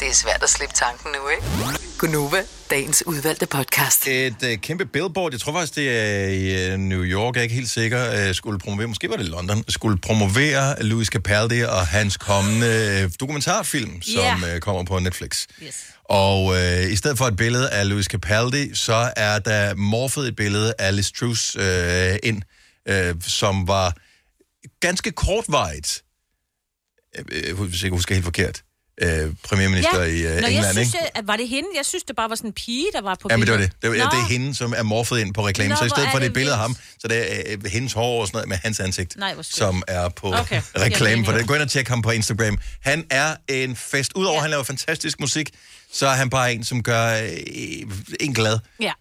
[SPEAKER 4] Det er svært at slippe tanken nu, ikke? Gunova, dagens udvalgte podcast.
[SPEAKER 1] Et øh, kæmpe billboard, jeg tror faktisk, det er i øh, New York, jeg er ikke helt sikker, øh, skulle promovere, måske var det London, skulle promovere Louis Capaldi og hans kommende øh, dokumentarfilm, som
[SPEAKER 6] Ja.
[SPEAKER 1] øh, kommer på Netflix.
[SPEAKER 6] Yes.
[SPEAKER 1] Og øh, i stedet for et billede af Louis Capaldi, så er der morfet et billede af Liz Truss øh, ind, øh, som var ganske kortvarigt, øh, øh, hvis jeg ikke husker helt forkert, øh, premierminister i øh,
[SPEAKER 20] Nå,
[SPEAKER 1] England,
[SPEAKER 20] jeg synes,
[SPEAKER 1] ikke?
[SPEAKER 20] jeg, at- var det hende? Jeg synes, det bare var sådan en pige, der var på
[SPEAKER 1] Ja, men det var det.
[SPEAKER 20] billedet.
[SPEAKER 1] Det, var, ja,
[SPEAKER 20] Nå.
[SPEAKER 1] det er hende, som er morfet ind på reklamen.
[SPEAKER 20] Nå,
[SPEAKER 1] så i
[SPEAKER 20] hvor
[SPEAKER 1] stedet
[SPEAKER 20] er
[SPEAKER 1] for, det er et
[SPEAKER 20] det
[SPEAKER 1] billede af ham, så det er øh, hendes hår og sådan noget med hans ansigt,
[SPEAKER 20] Nej, hvor skønt.
[SPEAKER 1] som er på
[SPEAKER 20] Okay.
[SPEAKER 1] okay. reklamen for det. Gå ind og tjek ham på Instagram. Han er en fest. Udover at han laver fantastisk musik, så er han bare en, som gør øh, en glad.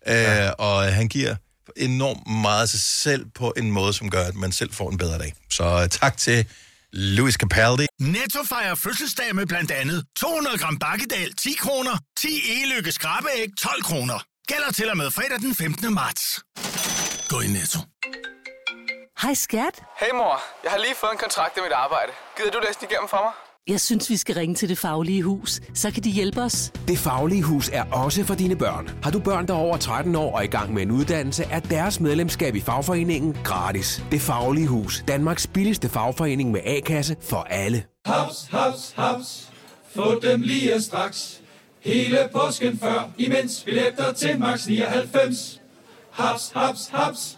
[SPEAKER 20] Ja.
[SPEAKER 1] Øh, og han giver enormt meget af sig selv på en måde, som gør, at man selv får en bedre dag. Så øh, tak til Louis Capaldi.
[SPEAKER 11] Netto fejrer fødselsdag med blandt andet 200 gram bakkedal 10 kroner, 10 e-lykke skrabeæg 12 kroner. Gælder til og med fredag den 15. marts. Gå i Netto.
[SPEAKER 21] Hej skat.
[SPEAKER 22] Hey mor, jeg har lige fået en kontrakt med mit arbejde. Gider du læse den igennem for mig?
[SPEAKER 21] Jeg synes, vi skal ringe til Det Faglige Hus. Så kan de hjælpe os.
[SPEAKER 12] Det Faglige Hus er også for dine børn. Har du børn, der er over 13 år og i gang med en uddannelse, er deres medlemskab i fagforeningen gratis. Det Faglige Hus. Danmarks billigste fagforening med A-kasse for alle.
[SPEAKER 13] Haps, haps, haps. Få dem lige straks. Hele påsken før, imens billetter til max 99. Haps, haps, haps.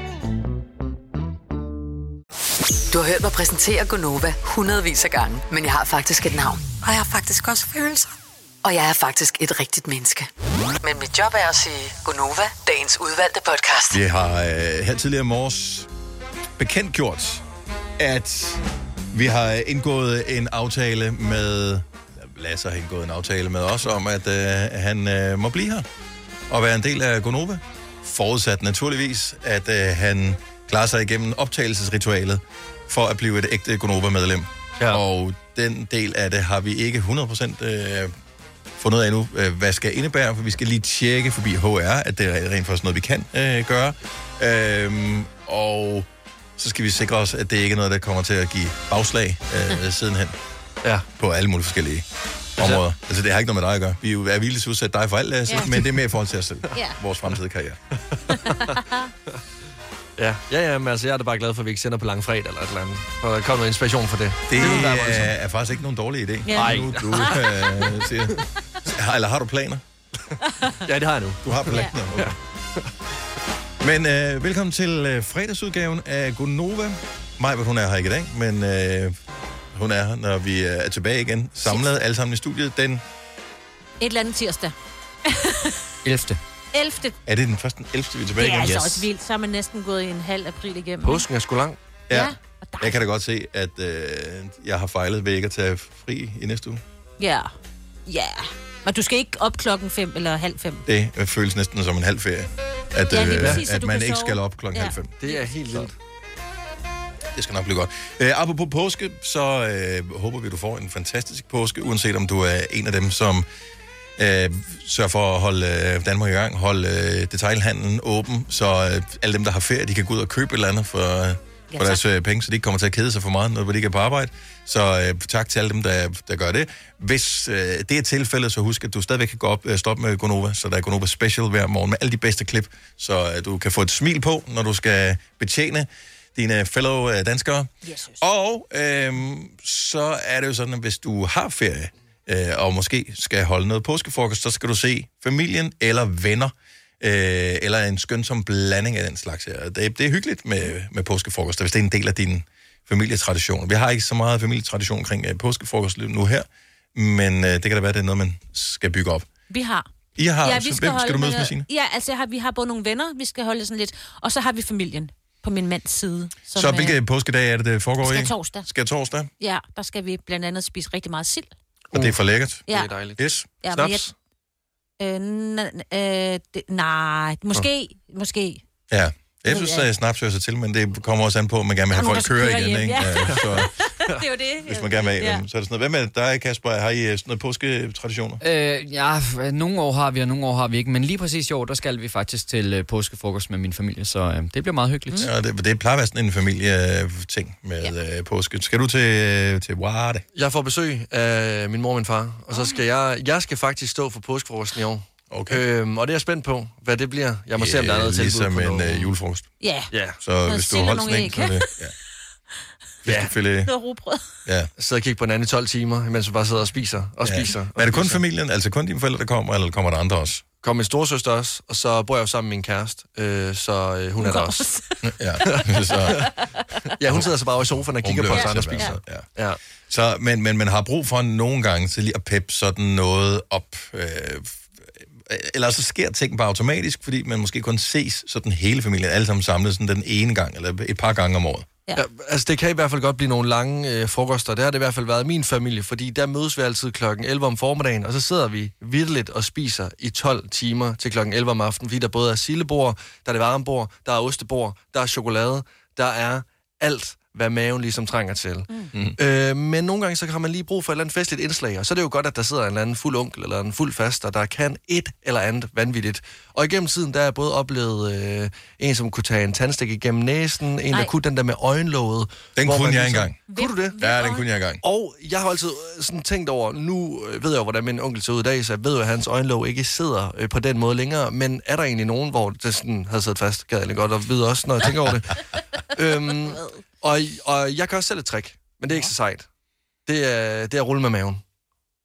[SPEAKER 4] Du har hørt mig præsentere Gunova hundredvis af gange, men jeg har faktisk et navn. Og jeg har faktisk også følelser. Og jeg er faktisk et rigtigt menneske. Men mit job er at sige Gunova, dagens udvalgte podcast.
[SPEAKER 1] Vi har øh, her tidligere i morges bekendtgjort, at vi har indgået en aftale med... Lasse har indgået en aftale med os om, at øh, han øh, må blive her og være en del af Gonova. Forudsat naturligvis, at øh, han klarer sig igennem optagelsesritualet for at blive et ægte Gonova-medlem. Ja. Og den del af det har vi ikke 100% øh, fundet ud af nu, øh, hvad skal indebære, for vi skal lige tjekke forbi HR, at det er rent faktisk noget, vi kan øh, gøre. Øhm, og så skal vi sikre os, at det ikke er noget, der kommer til at give bagslag øh, sidenhen
[SPEAKER 3] ja.
[SPEAKER 1] på alle mulige forskellige områder. Altså, det har ikke noget med dig at gøre. Vi er jo er vildt udsat dig for alt, Lasse,
[SPEAKER 3] Ja.
[SPEAKER 1] ja. men det er mere i forhold til os selv.
[SPEAKER 3] Ja.
[SPEAKER 1] Vores fremtidige karriere.
[SPEAKER 3] Ja, ja, ja, men altså, jeg er da bare glad for, at vi ikke sender på langfredag eller et eller andet. Og der kom noget inspiration for det.
[SPEAKER 1] Det
[SPEAKER 3] ville være voldsomt.
[SPEAKER 1] er, er faktisk ikke nogen dårlig idé.
[SPEAKER 3] Ja. Nej.
[SPEAKER 1] Nu, du, øh, siger. Har- Eller har du planer?
[SPEAKER 3] ja, det har jeg nu.
[SPEAKER 1] Du har planer. Ja. Men øh, velkommen til øh, fredagsudgaven af Gunova. Majbert, hun er her ikke i dag, men øh, hun er her, når vi øh, er tilbage igen. Samlet alle sammen i studiet den
[SPEAKER 20] Et eller andet tirsdag.
[SPEAKER 1] 11.
[SPEAKER 20] 11.
[SPEAKER 1] Er det den første den 11. vi er tilbage
[SPEAKER 20] Det er
[SPEAKER 1] igen?
[SPEAKER 20] altså også vildt. Så er man næsten gået en halv april igennem.
[SPEAKER 1] Påsken
[SPEAKER 3] er sgu lang.
[SPEAKER 1] Ja. Jeg kan da godt se, at øh, jeg har fejlet ved ikke at tage fri i næste uge.
[SPEAKER 20] Ja. Ja. Men du skal ikke op klokken 5 eller halv 5.
[SPEAKER 1] Det øh, føles næsten som en halv ferie. At,
[SPEAKER 20] Ja, lige
[SPEAKER 1] øh,
[SPEAKER 20] præcis, så
[SPEAKER 1] at
[SPEAKER 20] du
[SPEAKER 1] man
[SPEAKER 20] kan
[SPEAKER 1] ikke
[SPEAKER 20] sove.
[SPEAKER 1] skal op klokken
[SPEAKER 20] Ja.
[SPEAKER 1] halv fem.
[SPEAKER 3] Det er helt vildt.
[SPEAKER 1] Det skal nok blive godt. Øh, apropos påske, så øh, håber vi, du får en fantastisk påske, uanset om du er en af dem, som øh, sørger for at holde øh, Danmark i gang, holde øh, detailhandlen åben, så øh, alle dem, der har ferie, de kan gå ud og købe et eller andet for, øh, for
[SPEAKER 5] tak.
[SPEAKER 1] deres øh, penge, så de ikke kommer til at kede sig for meget, når de ikke er på arbejde. Så øh, tak til alle dem, der, der gør det. Hvis øh, det er tilfældet, så husk, at du stadigvæk kan gå op, øh, stoppe med Gonova, så der er Gonova Special hver morgen med alle de bedste klip, så øh, du kan få et smil på, når du skal betjene dine fellow øh, danskere. Yes, og øh, så er det jo sådan, at hvis du har ferie, øh, og måske skal holde noget påskefrokost, så skal du se familien eller venner, øh, eller en skønsom blanding af den slags her. Det, det er hyggeligt med, med påskefrokost, hvis det er en del af din familietradition. Vi har ikke så meget familietradition omkring øh, påskefrokost nu her, men øh, det kan da være, det er noget, man skal bygge op.
[SPEAKER 20] Vi har.
[SPEAKER 1] I har,
[SPEAKER 20] ja,
[SPEAKER 1] så hvem skal
[SPEAKER 20] holde
[SPEAKER 1] du mødes med, Signe?
[SPEAKER 20] Ja, altså jeg har, vi har både nogle venner, vi skal holde sådan lidt, og så har vi familien på min mands side.
[SPEAKER 1] Så
[SPEAKER 20] er-
[SPEAKER 1] hvilke påskedag er det, det foregår i?
[SPEAKER 20] Skal torsdag.
[SPEAKER 1] Skal torsdag,
[SPEAKER 20] Ja, der skal vi blandt andet spise rigtig meget sild.
[SPEAKER 1] og det er for lækkert.
[SPEAKER 20] Ja. Mm. Det er dejligt.
[SPEAKER 1] Yes,
[SPEAKER 20] Ja, men
[SPEAKER 1] snaps.
[SPEAKER 20] jeg, øh, n- n- øh, det, nej, måske, måske.
[SPEAKER 1] Ja, jeg
[SPEAKER 20] ved
[SPEAKER 1] synes,
[SPEAKER 20] jeg
[SPEAKER 1] at snaps hører sig til, men det kommer også an på, at man gerne vil have
[SPEAKER 20] Der er
[SPEAKER 1] folk
[SPEAKER 20] nogen, der
[SPEAKER 1] køre
[SPEAKER 20] skal
[SPEAKER 1] igen,
[SPEAKER 20] køre
[SPEAKER 1] ikke?
[SPEAKER 20] hjem, ja.
[SPEAKER 1] Ja, så,
[SPEAKER 20] det er jo det.
[SPEAKER 1] hvis man gerne vil af
[SPEAKER 7] Ja.
[SPEAKER 1] dem, så er det sådan noget. Hvad med dig, Kasper? Har I øh, sådan noget påsketraditioner?
[SPEAKER 7] Øh, ja, f- nogle år har vi, og nogle år har vi ikke. Men lige præcis i år, der skal vi faktisk til øh, påskefrokost med min familie, så øh, det bliver meget hyggeligt.
[SPEAKER 1] Ja, det, det plejer at være sådan en familieting med ja. påske. Skal du til, øh, til Varde?
[SPEAKER 3] Jeg får besøg af min mor og min far, og så skal jeg, jeg skal faktisk stå for påskefrokosten i år.
[SPEAKER 1] Okay.
[SPEAKER 3] Øhm, og det er jeg spændt på, hvad det bliver. Jeg må se, om der er noget tilbud
[SPEAKER 1] Ligesom
[SPEAKER 3] på
[SPEAKER 1] en
[SPEAKER 3] noget.
[SPEAKER 1] øh, julefrokost.
[SPEAKER 20] Ja.
[SPEAKER 3] ja.
[SPEAKER 1] Så hvis du har holdt sådan en, så er det... Ja. Fiskefilet.
[SPEAKER 20] Noget rugbrød.
[SPEAKER 1] Ja.
[SPEAKER 3] Sidder og kigger på hinanden i 12 timer, imens vi bare sidder og spiser og
[SPEAKER 1] Ja.
[SPEAKER 3] spiser.
[SPEAKER 1] Men er det kun familien, altså kun dine forældre, der kommer, eller kommer der andre også?
[SPEAKER 3] Kom min storsøster også, og så bor jeg jo sammen med min kæreste, øh, så øh, hun, hun er der også.
[SPEAKER 1] ja, så...
[SPEAKER 3] ja, hun sidder så bare over i sofaen og
[SPEAKER 1] Hun
[SPEAKER 3] kigger på
[SPEAKER 1] bliver
[SPEAKER 3] os
[SPEAKER 1] nødt
[SPEAKER 3] andre
[SPEAKER 1] til at være
[SPEAKER 3] spiser.
[SPEAKER 1] Ja. ja. Så, men, men man har brug for nogle gange til lige at peppe sådan noget op. Øh, eller så sker ting bare automatisk, fordi man måske kun ses sådan hele familien, alle sammen samlet sådan den ene gang, eller et par gange om året.
[SPEAKER 20] Ja.
[SPEAKER 3] Ja, altså det kan i hvert fald godt blive nogle lange øh, frokoster. Det har det i hvert fald været i min familie, fordi der mødes vi altid kl. 11 om formiddagen, og så sidder vi vidteligt og spiser i 12 timer til kl. 11 om aftenen, fordi der både er sillebord, der er det varmebord, der er ostebord, der er chokolade, der er alt, hvad maven ligesom trænger til. Mm. Øh, men nogle gange så har man lige brug for et eller andet festligt indslag, og så er det jo godt, at der sidder en eller anden fuld onkel eller en fuld faster, der kan et eller andet vanvittigt. Og igennem tiden, der har jeg både oplevet øh, en, som kunne tage en tandstik igennem næsen, en,
[SPEAKER 1] Nej.
[SPEAKER 3] der kunne den der med øjenlåget.
[SPEAKER 1] Den
[SPEAKER 3] hvor
[SPEAKER 1] kunne
[SPEAKER 3] man ligesom
[SPEAKER 1] jeg engang.
[SPEAKER 3] Kunne du det?
[SPEAKER 1] Ja, den kunne jeg engang.
[SPEAKER 3] Og jeg har altid øh, sådan tænkt over, nu øh, ved jeg jo, hvordan min onkel ser ud i dag, så jeg ved jo, at hans øjenlåg ikke sidder øh, på den måde længere, men er der egentlig nogen, hvor det sådan havde siddet fast? Gad jeg egentlig godt at vide også, når jeg tænker over det. øhm, og, og jeg kan også selv et trick, men det er ikke så sejt. Det er, det er at rulle med maven.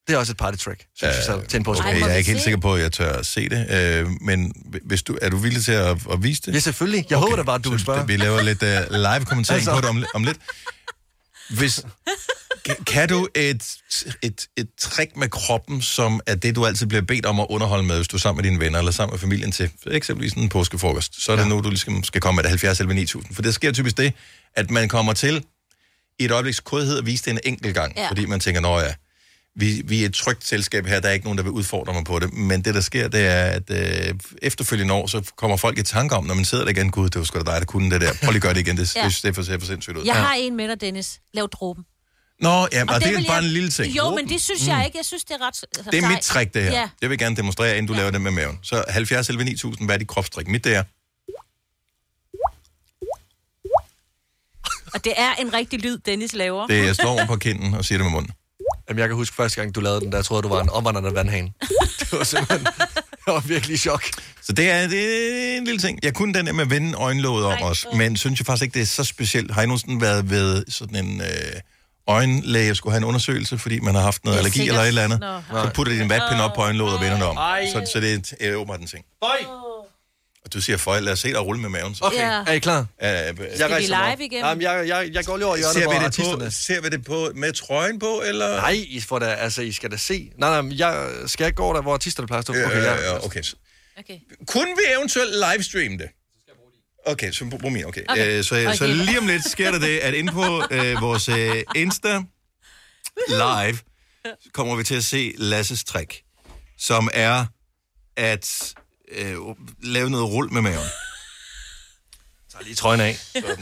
[SPEAKER 3] Det er også et party-trick, synes jeg selv, til en påske.
[SPEAKER 1] Okay, jeg er ikke helt sikker på, at jeg tør at se det, øh, men hvis du, er du villig til at, at vise det?
[SPEAKER 3] Ja, selvfølgelig. Jeg håber da bare, at du vil spørge.
[SPEAKER 1] Vi laver lidt uh, live kommentering altså.
[SPEAKER 3] Altså.
[SPEAKER 1] på det om, om lidt. Hvis, kan- kan du et, et, et trick med kroppen, som er det, du altid bliver bedt om at underholde med, hvis du er sammen med dine venner eller sammen med familien til eksempelvis en påskefrokost, så er det ja. nu, du ligesom skal komme med det 70 eller 9000. For det sker typisk det, at man kommer til i et øjebliks kodhed at vise det en enkelt gang,
[SPEAKER 23] Ja.
[SPEAKER 1] ja. fordi man tænker, nå ja, vi, vi er et trygt selskab her, der er ikke nogen, der vil udfordre mig på det. Men det, der sker, det er, at øh, efterfølgende år, så kommer folk i tanke om, når man sidder der igen, gud, det var sgu da dig, der kunne det der. Prøv lige at gøre det igen, det,
[SPEAKER 20] Ja.
[SPEAKER 1] ja. det, det, for, ser for sindssygt ud.
[SPEAKER 20] Jeg har en med dig, Dennis. Lav dråben.
[SPEAKER 1] Nå, ja, og, og det,
[SPEAKER 20] vil
[SPEAKER 1] er bare en lille ting. Mm.
[SPEAKER 20] Jo, men det synes jeg ikke. Jeg synes, det er ret altså,
[SPEAKER 1] Det er mit
[SPEAKER 20] sejt.
[SPEAKER 1] trick, det her.
[SPEAKER 20] Ja.
[SPEAKER 1] Ja. Det vil jeg gerne demonstrere, inden du ja. laver det med maven. Så 70 11 9000, hvad er dit kropstrik? Mit det er,
[SPEAKER 20] Og det er en rigtig lyd, Dennis laver.
[SPEAKER 1] det er jeg slår oven på kinden og siger det med munden.
[SPEAKER 3] Jamen, jeg kan huske første gang, du lavede den, der troede, du var en omvandrende vandhane. Det var simpelthen... Jeg var virkelig i chok.
[SPEAKER 1] Så det er, det er en lille ting. Jeg kunne den der med at vende øjenlåget om også, men synes jeg faktisk ikke, det er så specielt. Har I nogensinde været ved sådan en øh, øjenlæge, skulle have en undersøgelse, fordi man har haft noget
[SPEAKER 3] Ja,
[SPEAKER 1] allergi
[SPEAKER 3] sikkert.
[SPEAKER 1] eller et eller andet?
[SPEAKER 3] Nå.
[SPEAKER 1] Så
[SPEAKER 3] Nej.
[SPEAKER 1] putter de en vatpind op på øjenlåget og vender det om.
[SPEAKER 3] Ej.
[SPEAKER 1] Så, så det er øh, åbenbart en ting.
[SPEAKER 3] Bøj!
[SPEAKER 1] Og du siger føj, lad os se dig rulle med maven. Så.
[SPEAKER 3] Okay, Ja. er I klar?
[SPEAKER 1] Øh, jeg
[SPEAKER 3] Skal vi rejser mig live op. igen? Jamen, jeg, jeg, jeg går lige over i hjørnet,
[SPEAKER 1] ser
[SPEAKER 3] hvor
[SPEAKER 1] vi det på,
[SPEAKER 3] artisterne-
[SPEAKER 1] Ser vi det på med trøjen på, eller?
[SPEAKER 3] Nej, I, får da, altså, I skal da se. Nej, nej, men jeg, skal jeg ikke gå der, hvor artisterne plejer at stå?
[SPEAKER 1] Ja,
[SPEAKER 3] Okay,
[SPEAKER 1] ja, ja, okay.
[SPEAKER 20] Okay.
[SPEAKER 1] Kun vi eventuelt livestream det. Okay, så brug min. Okay.
[SPEAKER 5] Okay.
[SPEAKER 1] Øh, så, okay. så
[SPEAKER 5] Okay.
[SPEAKER 1] lige om lidt sker der det, at inde på øh, vores øh, Insta live, kommer vi til at se Lasses trick, som er at øh, lave noget rul med maven.
[SPEAKER 3] Tag lige trøjen af.
[SPEAKER 1] Sådan der.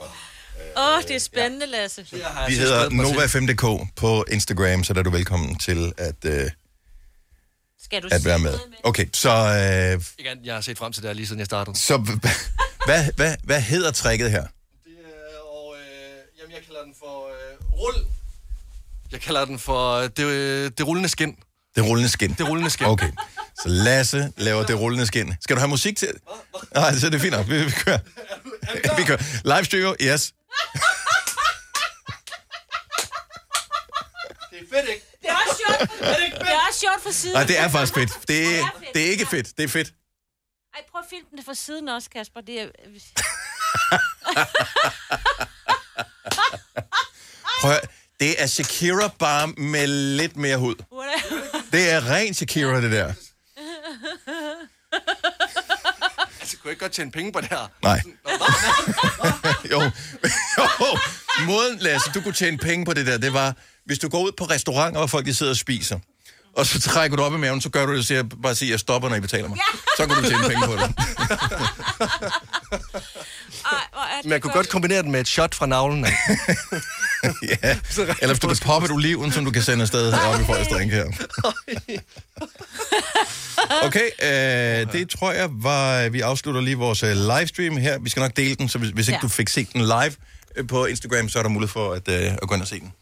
[SPEAKER 1] Godt.
[SPEAKER 2] Åh, oh, det er spændende, Lasse.
[SPEAKER 1] Vi hedder Nova5.dk på Instagram, så der er du velkommen til at, øh,
[SPEAKER 2] Skal du
[SPEAKER 1] at være med. Okay, så, øh,
[SPEAKER 3] Igen, jeg har set frem til det her, lige siden jeg startede.
[SPEAKER 1] så h- hvad, hvad, hvad hedder tricket her?
[SPEAKER 3] Jeg kalder den for øh, det, øh, det rullende skin.
[SPEAKER 1] Det rullende skin.
[SPEAKER 3] Det rullende skin.
[SPEAKER 1] Okay. Så Lasse laver det rullende skin. Skal du have musik til? Nej, så er det fint nok. Vi, vi kører. Vi kører. Live studio, yes.
[SPEAKER 3] Det er fedt, ikke?
[SPEAKER 2] Det er også sjovt. Det er også sjovt fra siden.
[SPEAKER 1] Nej, det er faktisk fedt. Det er, det er ikke fedt. Det er fedt.
[SPEAKER 2] Ej, prøv at filme det fra siden også, Kasper. Det er...
[SPEAKER 1] Prøv at høre. Det er Shakira bare med lidt mere hud. Det er ren Shakira, det der.
[SPEAKER 3] Altså, kunne jeg ikke godt tjene penge på det her?
[SPEAKER 1] Nej. jo. jo. Måden, Lasse, du kunne tjene penge på det der, det var, hvis du går ud på restauranter, hvor folk de sidder og spiser, og så trækker du op i maven, så gør du det, så jeg bare siger, jeg stopper, når I betaler mig. Så kan du tjene penge på det.
[SPEAKER 3] Men jeg kunne godt kombinere den med et shot fra navlen. af.
[SPEAKER 1] ja. Eller hvis du kan poppe et oliven, som du kan sende afsted op i folks drink her. Okay, øh, det tror jeg var... Vi afslutter lige vores øh, livestream her. Vi skal nok dele den, så hvis, hvis ikke
[SPEAKER 2] Ja.
[SPEAKER 1] du fik set den live øh, på Instagram, så er der mulighed for at, øh, at gå ind og se den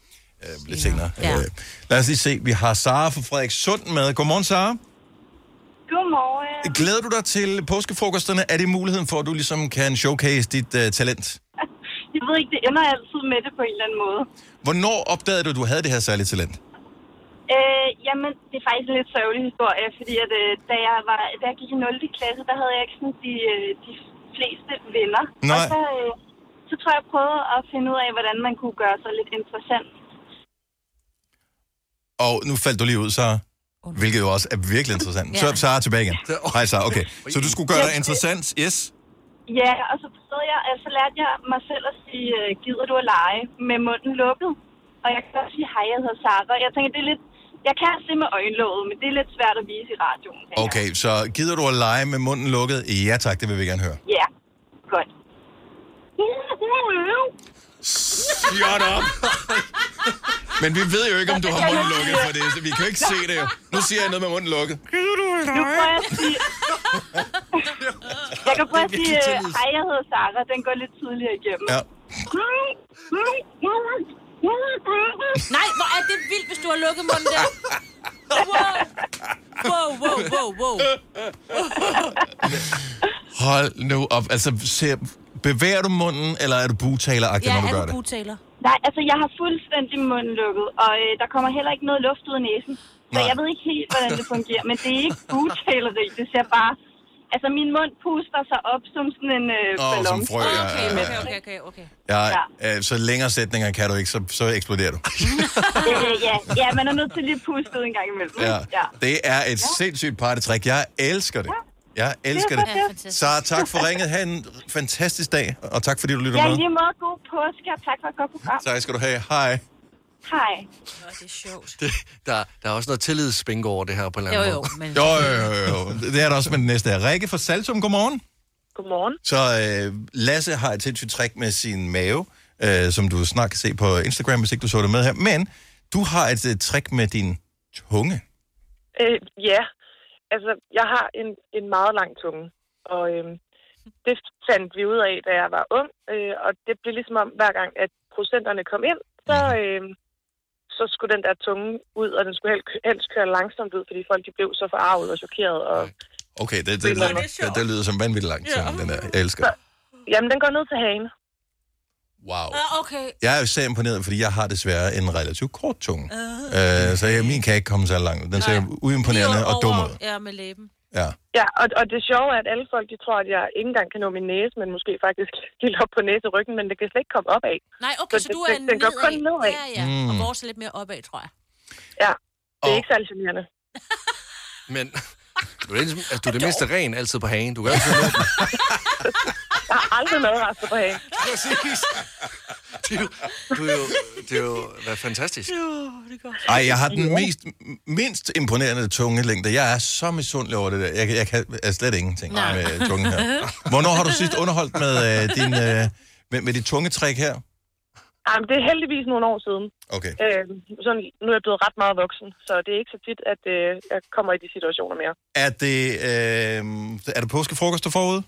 [SPEAKER 1] øh, lidt senere.
[SPEAKER 2] Ja.
[SPEAKER 1] Øh, lad os lige se. Vi har Sara fra Frederik Sund med. Godmorgen, Sara.
[SPEAKER 18] Godmorgen.
[SPEAKER 1] Glæder du dig til påskefrokosterne? Er det muligheden for, at du ligesom kan showcase dit øh, talent?
[SPEAKER 18] Jeg ved ikke, det ender altid med det på en eller anden måde.
[SPEAKER 1] Hvornår opdagede du, at du havde det her særlige talent?
[SPEAKER 18] Øh, jamen, det er faktisk en lidt sørgelig historie, fordi at, øh, da, jeg var, da jeg gik i 0. klasse, der havde jeg ikke sådan de, øh, de fleste venner.
[SPEAKER 1] Nej.
[SPEAKER 18] Og så, øh, så tror jeg, jeg prøvede at finde ud af, hvordan man kunne gøre sig lidt interessant.
[SPEAKER 1] Og nu faldt du lige ud, så hvilket jo også er virkelig interessant. Så
[SPEAKER 18] Ja.
[SPEAKER 1] Sara er tilbage igen. Hej Sara, okay. Så du skulle gøre dig interessant, yes?
[SPEAKER 18] Ja, og så prøvede jeg, altså lærte jeg mig selv at sige, øh, gider du at lege med munden lukket? Og jeg kan også sige, hej, jeg hedder Sara. Jeg tænker, det er lidt, jeg kan se med øjenlåget, men det er lidt svært at vise i radioen.
[SPEAKER 1] Okay, så gider du at lege med munden lukket? Ja tak, det vil vi gerne høre.
[SPEAKER 18] Ja, godt.
[SPEAKER 1] Shut up! Men vi ved jo ikke, om du har munden lukket for det. så Vi kan jo ikke se det jo. Nu siger jeg noget med munden lukket.
[SPEAKER 18] Nu prøver jeg at sige... jeg kan prøve at
[SPEAKER 1] Det er
[SPEAKER 18] sige,
[SPEAKER 1] virkelig
[SPEAKER 18] øh,
[SPEAKER 1] tillid.
[SPEAKER 18] hej, jeg hedder Sara. Den går lidt tidligere igennem.
[SPEAKER 1] Ja.
[SPEAKER 2] Nej, hvor er det vildt, hvis du har lukket munden der. Wow, wow, wow, wow.
[SPEAKER 1] Hold nu op. Altså, se, bevæger du munden, eller er du butaleragtig, når du gør det?
[SPEAKER 2] butaler?
[SPEAKER 18] Nej, altså jeg har fuldstændig munden lukket, og øh, der kommer heller ikke noget luft ud af næsen. Så
[SPEAKER 1] Nej.
[SPEAKER 18] jeg ved ikke helt, hvordan det fungerer, men det er ikke butaleri. Det ser bare... Altså min mund puster sig op som sådan en øh,
[SPEAKER 1] Åh, som
[SPEAKER 18] ballon.
[SPEAKER 1] frø, ja, ja, Okay, ja, ja.
[SPEAKER 2] Okay, okay, okay.
[SPEAKER 1] Ja, øh, så længere sætninger kan du ikke, så, så eksploderer du.
[SPEAKER 18] Øh, ja, ja, man er nødt til lige at puste ud en gang imellem.
[SPEAKER 1] Ja. Det er et sindssygt partytrick. Jeg elsker det. Jeg elsker
[SPEAKER 18] Det
[SPEAKER 1] det.
[SPEAKER 18] er så fedt.
[SPEAKER 1] Så tak for ringet. Ha' en fantastisk dag, og tak fordi du lytter
[SPEAKER 18] Ja, i
[SPEAKER 1] med.
[SPEAKER 18] lige måde god påske, og tak for et godt program.
[SPEAKER 1] Tak skal du have. Hej.
[SPEAKER 18] Hej.
[SPEAKER 2] Det er sjovt.
[SPEAKER 3] Det, der, der er også noget tillidsbingo over det her på en eller anden
[SPEAKER 2] Jo, jo,
[SPEAKER 3] måde.
[SPEAKER 1] Jo, jo, jo, jo. Det er der også med den næste her. Rikke fra Saltum, godmorgen.
[SPEAKER 8] Godmorgen.
[SPEAKER 1] Så øh, Lasse har et sindssygt trick med sin mave, øh, som du snart kan se på Instagram, hvis ikke du så det med her. Men du har et øh, trick med din tunge.
[SPEAKER 8] Øh, ja, altså jeg har en, en meget lang tunge, og øh, det fandt vi ud af, da jeg var ung, øh, og det blev ligesom om, hver gang at procenterne kom ind, så, øh, så skulle den der tunge ud, og den skulle helst, helst køre langsomt ud, fordi folk de blev så forarvet og chokeret. Og,
[SPEAKER 1] Okay, det, det, det, det, det, det lyder som vanvittigt langt. Ja. Den der. Jeg elsker
[SPEAKER 8] så,
[SPEAKER 1] det.
[SPEAKER 8] jamen, den går ned til hagen.
[SPEAKER 1] Wow.
[SPEAKER 2] Okay.
[SPEAKER 1] Jeg er jo især imponeret, fordi jeg har desværre en relativt kort tunge. Øh, så jeg, min kan ikke komme så langt. Den ser uimponerende og dum ud.
[SPEAKER 8] Ja, med læben.
[SPEAKER 1] Ja.
[SPEAKER 8] Ja, og, og det sjove er, at alle folk de tror, at jeg ikke engang kan nå min næse, men måske faktisk helt op på næseryggen, men det kan slet ikke komme op af.
[SPEAKER 2] Nej, okay, så, du er
[SPEAKER 8] den,
[SPEAKER 2] en
[SPEAKER 8] den går kun
[SPEAKER 2] nedad.
[SPEAKER 8] nedad.
[SPEAKER 2] Ja, ja. Mm. Og
[SPEAKER 8] Mm.
[SPEAKER 2] vores er lidt mere opad, tror jeg.
[SPEAKER 8] Ja, det er ikke særlig generende.
[SPEAKER 3] Men du er, det, altså, du er det mindste ren altid på hagen. Du kan altid nå den.
[SPEAKER 8] Jeg har aldrig noget rester på hagen.
[SPEAKER 3] Præcis. Det er jo, du er jo, det er jo hvad fantastisk.
[SPEAKER 1] Ej, jeg har den mest, mindst imponerende tungelængde. Jeg er så misundelig over det der. Jeg, kan- jeg kan er slet ingenting Nej.
[SPEAKER 24] Nej.
[SPEAKER 1] med tungen her. Hvornår har du sidst underholdt med, øh, din, øh, med, med dit tungetræk her?
[SPEAKER 8] Jamen, det er heldigvis nogle år siden.
[SPEAKER 1] Okay.
[SPEAKER 8] Øh, sådan, nu er jeg blevet ret meget voksen, så det er ikke så tit, at øh, jeg kommer i de situationer mere.
[SPEAKER 1] Er det, øh, er det påskefrokoster forude?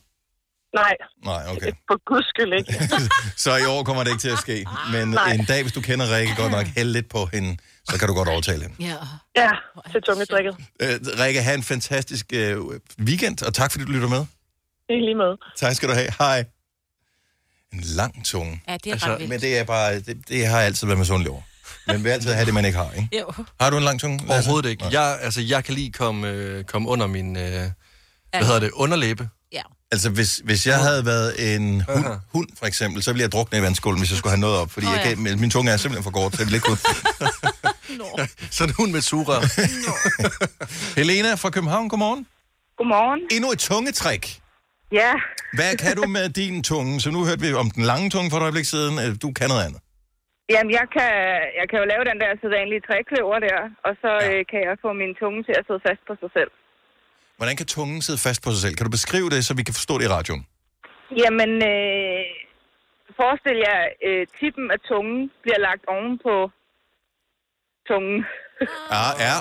[SPEAKER 8] Nej,
[SPEAKER 1] Nej, okay.
[SPEAKER 8] på guds skyld ikke.
[SPEAKER 1] Så i år kommer det ikke til at ske. Men
[SPEAKER 8] Nej.
[SPEAKER 1] en dag, hvis du kender Rikke godt nok, hæld lidt på hende, så kan du godt overtale hende.
[SPEAKER 8] ja. ja, til tungedrikket.
[SPEAKER 1] Øh, Rikke, have en fantastisk øh, weekend, og tak fordi du lytter med.
[SPEAKER 8] Det er lige med.
[SPEAKER 1] Tak skal du have. Hej. En lang tunge.
[SPEAKER 8] Ja, det er
[SPEAKER 1] altså,
[SPEAKER 8] ret vildt.
[SPEAKER 1] Men det er bare, det, det har jeg altid været med sundlig over. Men vi altid have det, man ikke har, ikke?
[SPEAKER 11] Jo.
[SPEAKER 1] Har du en lang tunge?
[SPEAKER 3] Overhovedet ikke. Jeg, altså, jeg kan lige komme, øh, komme under min, øh, hvad hedder det, underlæbe.
[SPEAKER 11] Ja.
[SPEAKER 1] Altså, hvis, hvis jeg havde været en hund, hund, for eksempel, så ville jeg drukne i vandskålen, hvis jeg skulle have noget op. Fordi
[SPEAKER 11] Nå,
[SPEAKER 1] oh, ja.
[SPEAKER 11] ja.
[SPEAKER 1] jeg kan, min tunge er simpelthen for kort, så jeg ville ikke kunne...
[SPEAKER 3] Sådan en hund med sugerør.
[SPEAKER 1] Helena fra København, godmorgen.
[SPEAKER 18] Godmorgen.
[SPEAKER 1] Endnu et tungetrik.
[SPEAKER 18] Ja,
[SPEAKER 1] Hvad kan du med din tunge? Så nu hørte vi om den lange tunge for et øjeblik siden. Øh, Du kan noget andet.
[SPEAKER 18] jamen jeg kan, jeg kan jo lave den der sædvanlige trækløver der, og så ja. øh, kan jeg få min tunge til at sidde fast på sig selv.
[SPEAKER 1] Hvordan kan tungen sidde fast på sig selv? Kan du beskrive det, så vi kan forstå det i radioen?
[SPEAKER 18] Jamen, øh, forestil jer, øh, tippen af tungen bliver lagt oven på tungen,
[SPEAKER 1] Ja, ja.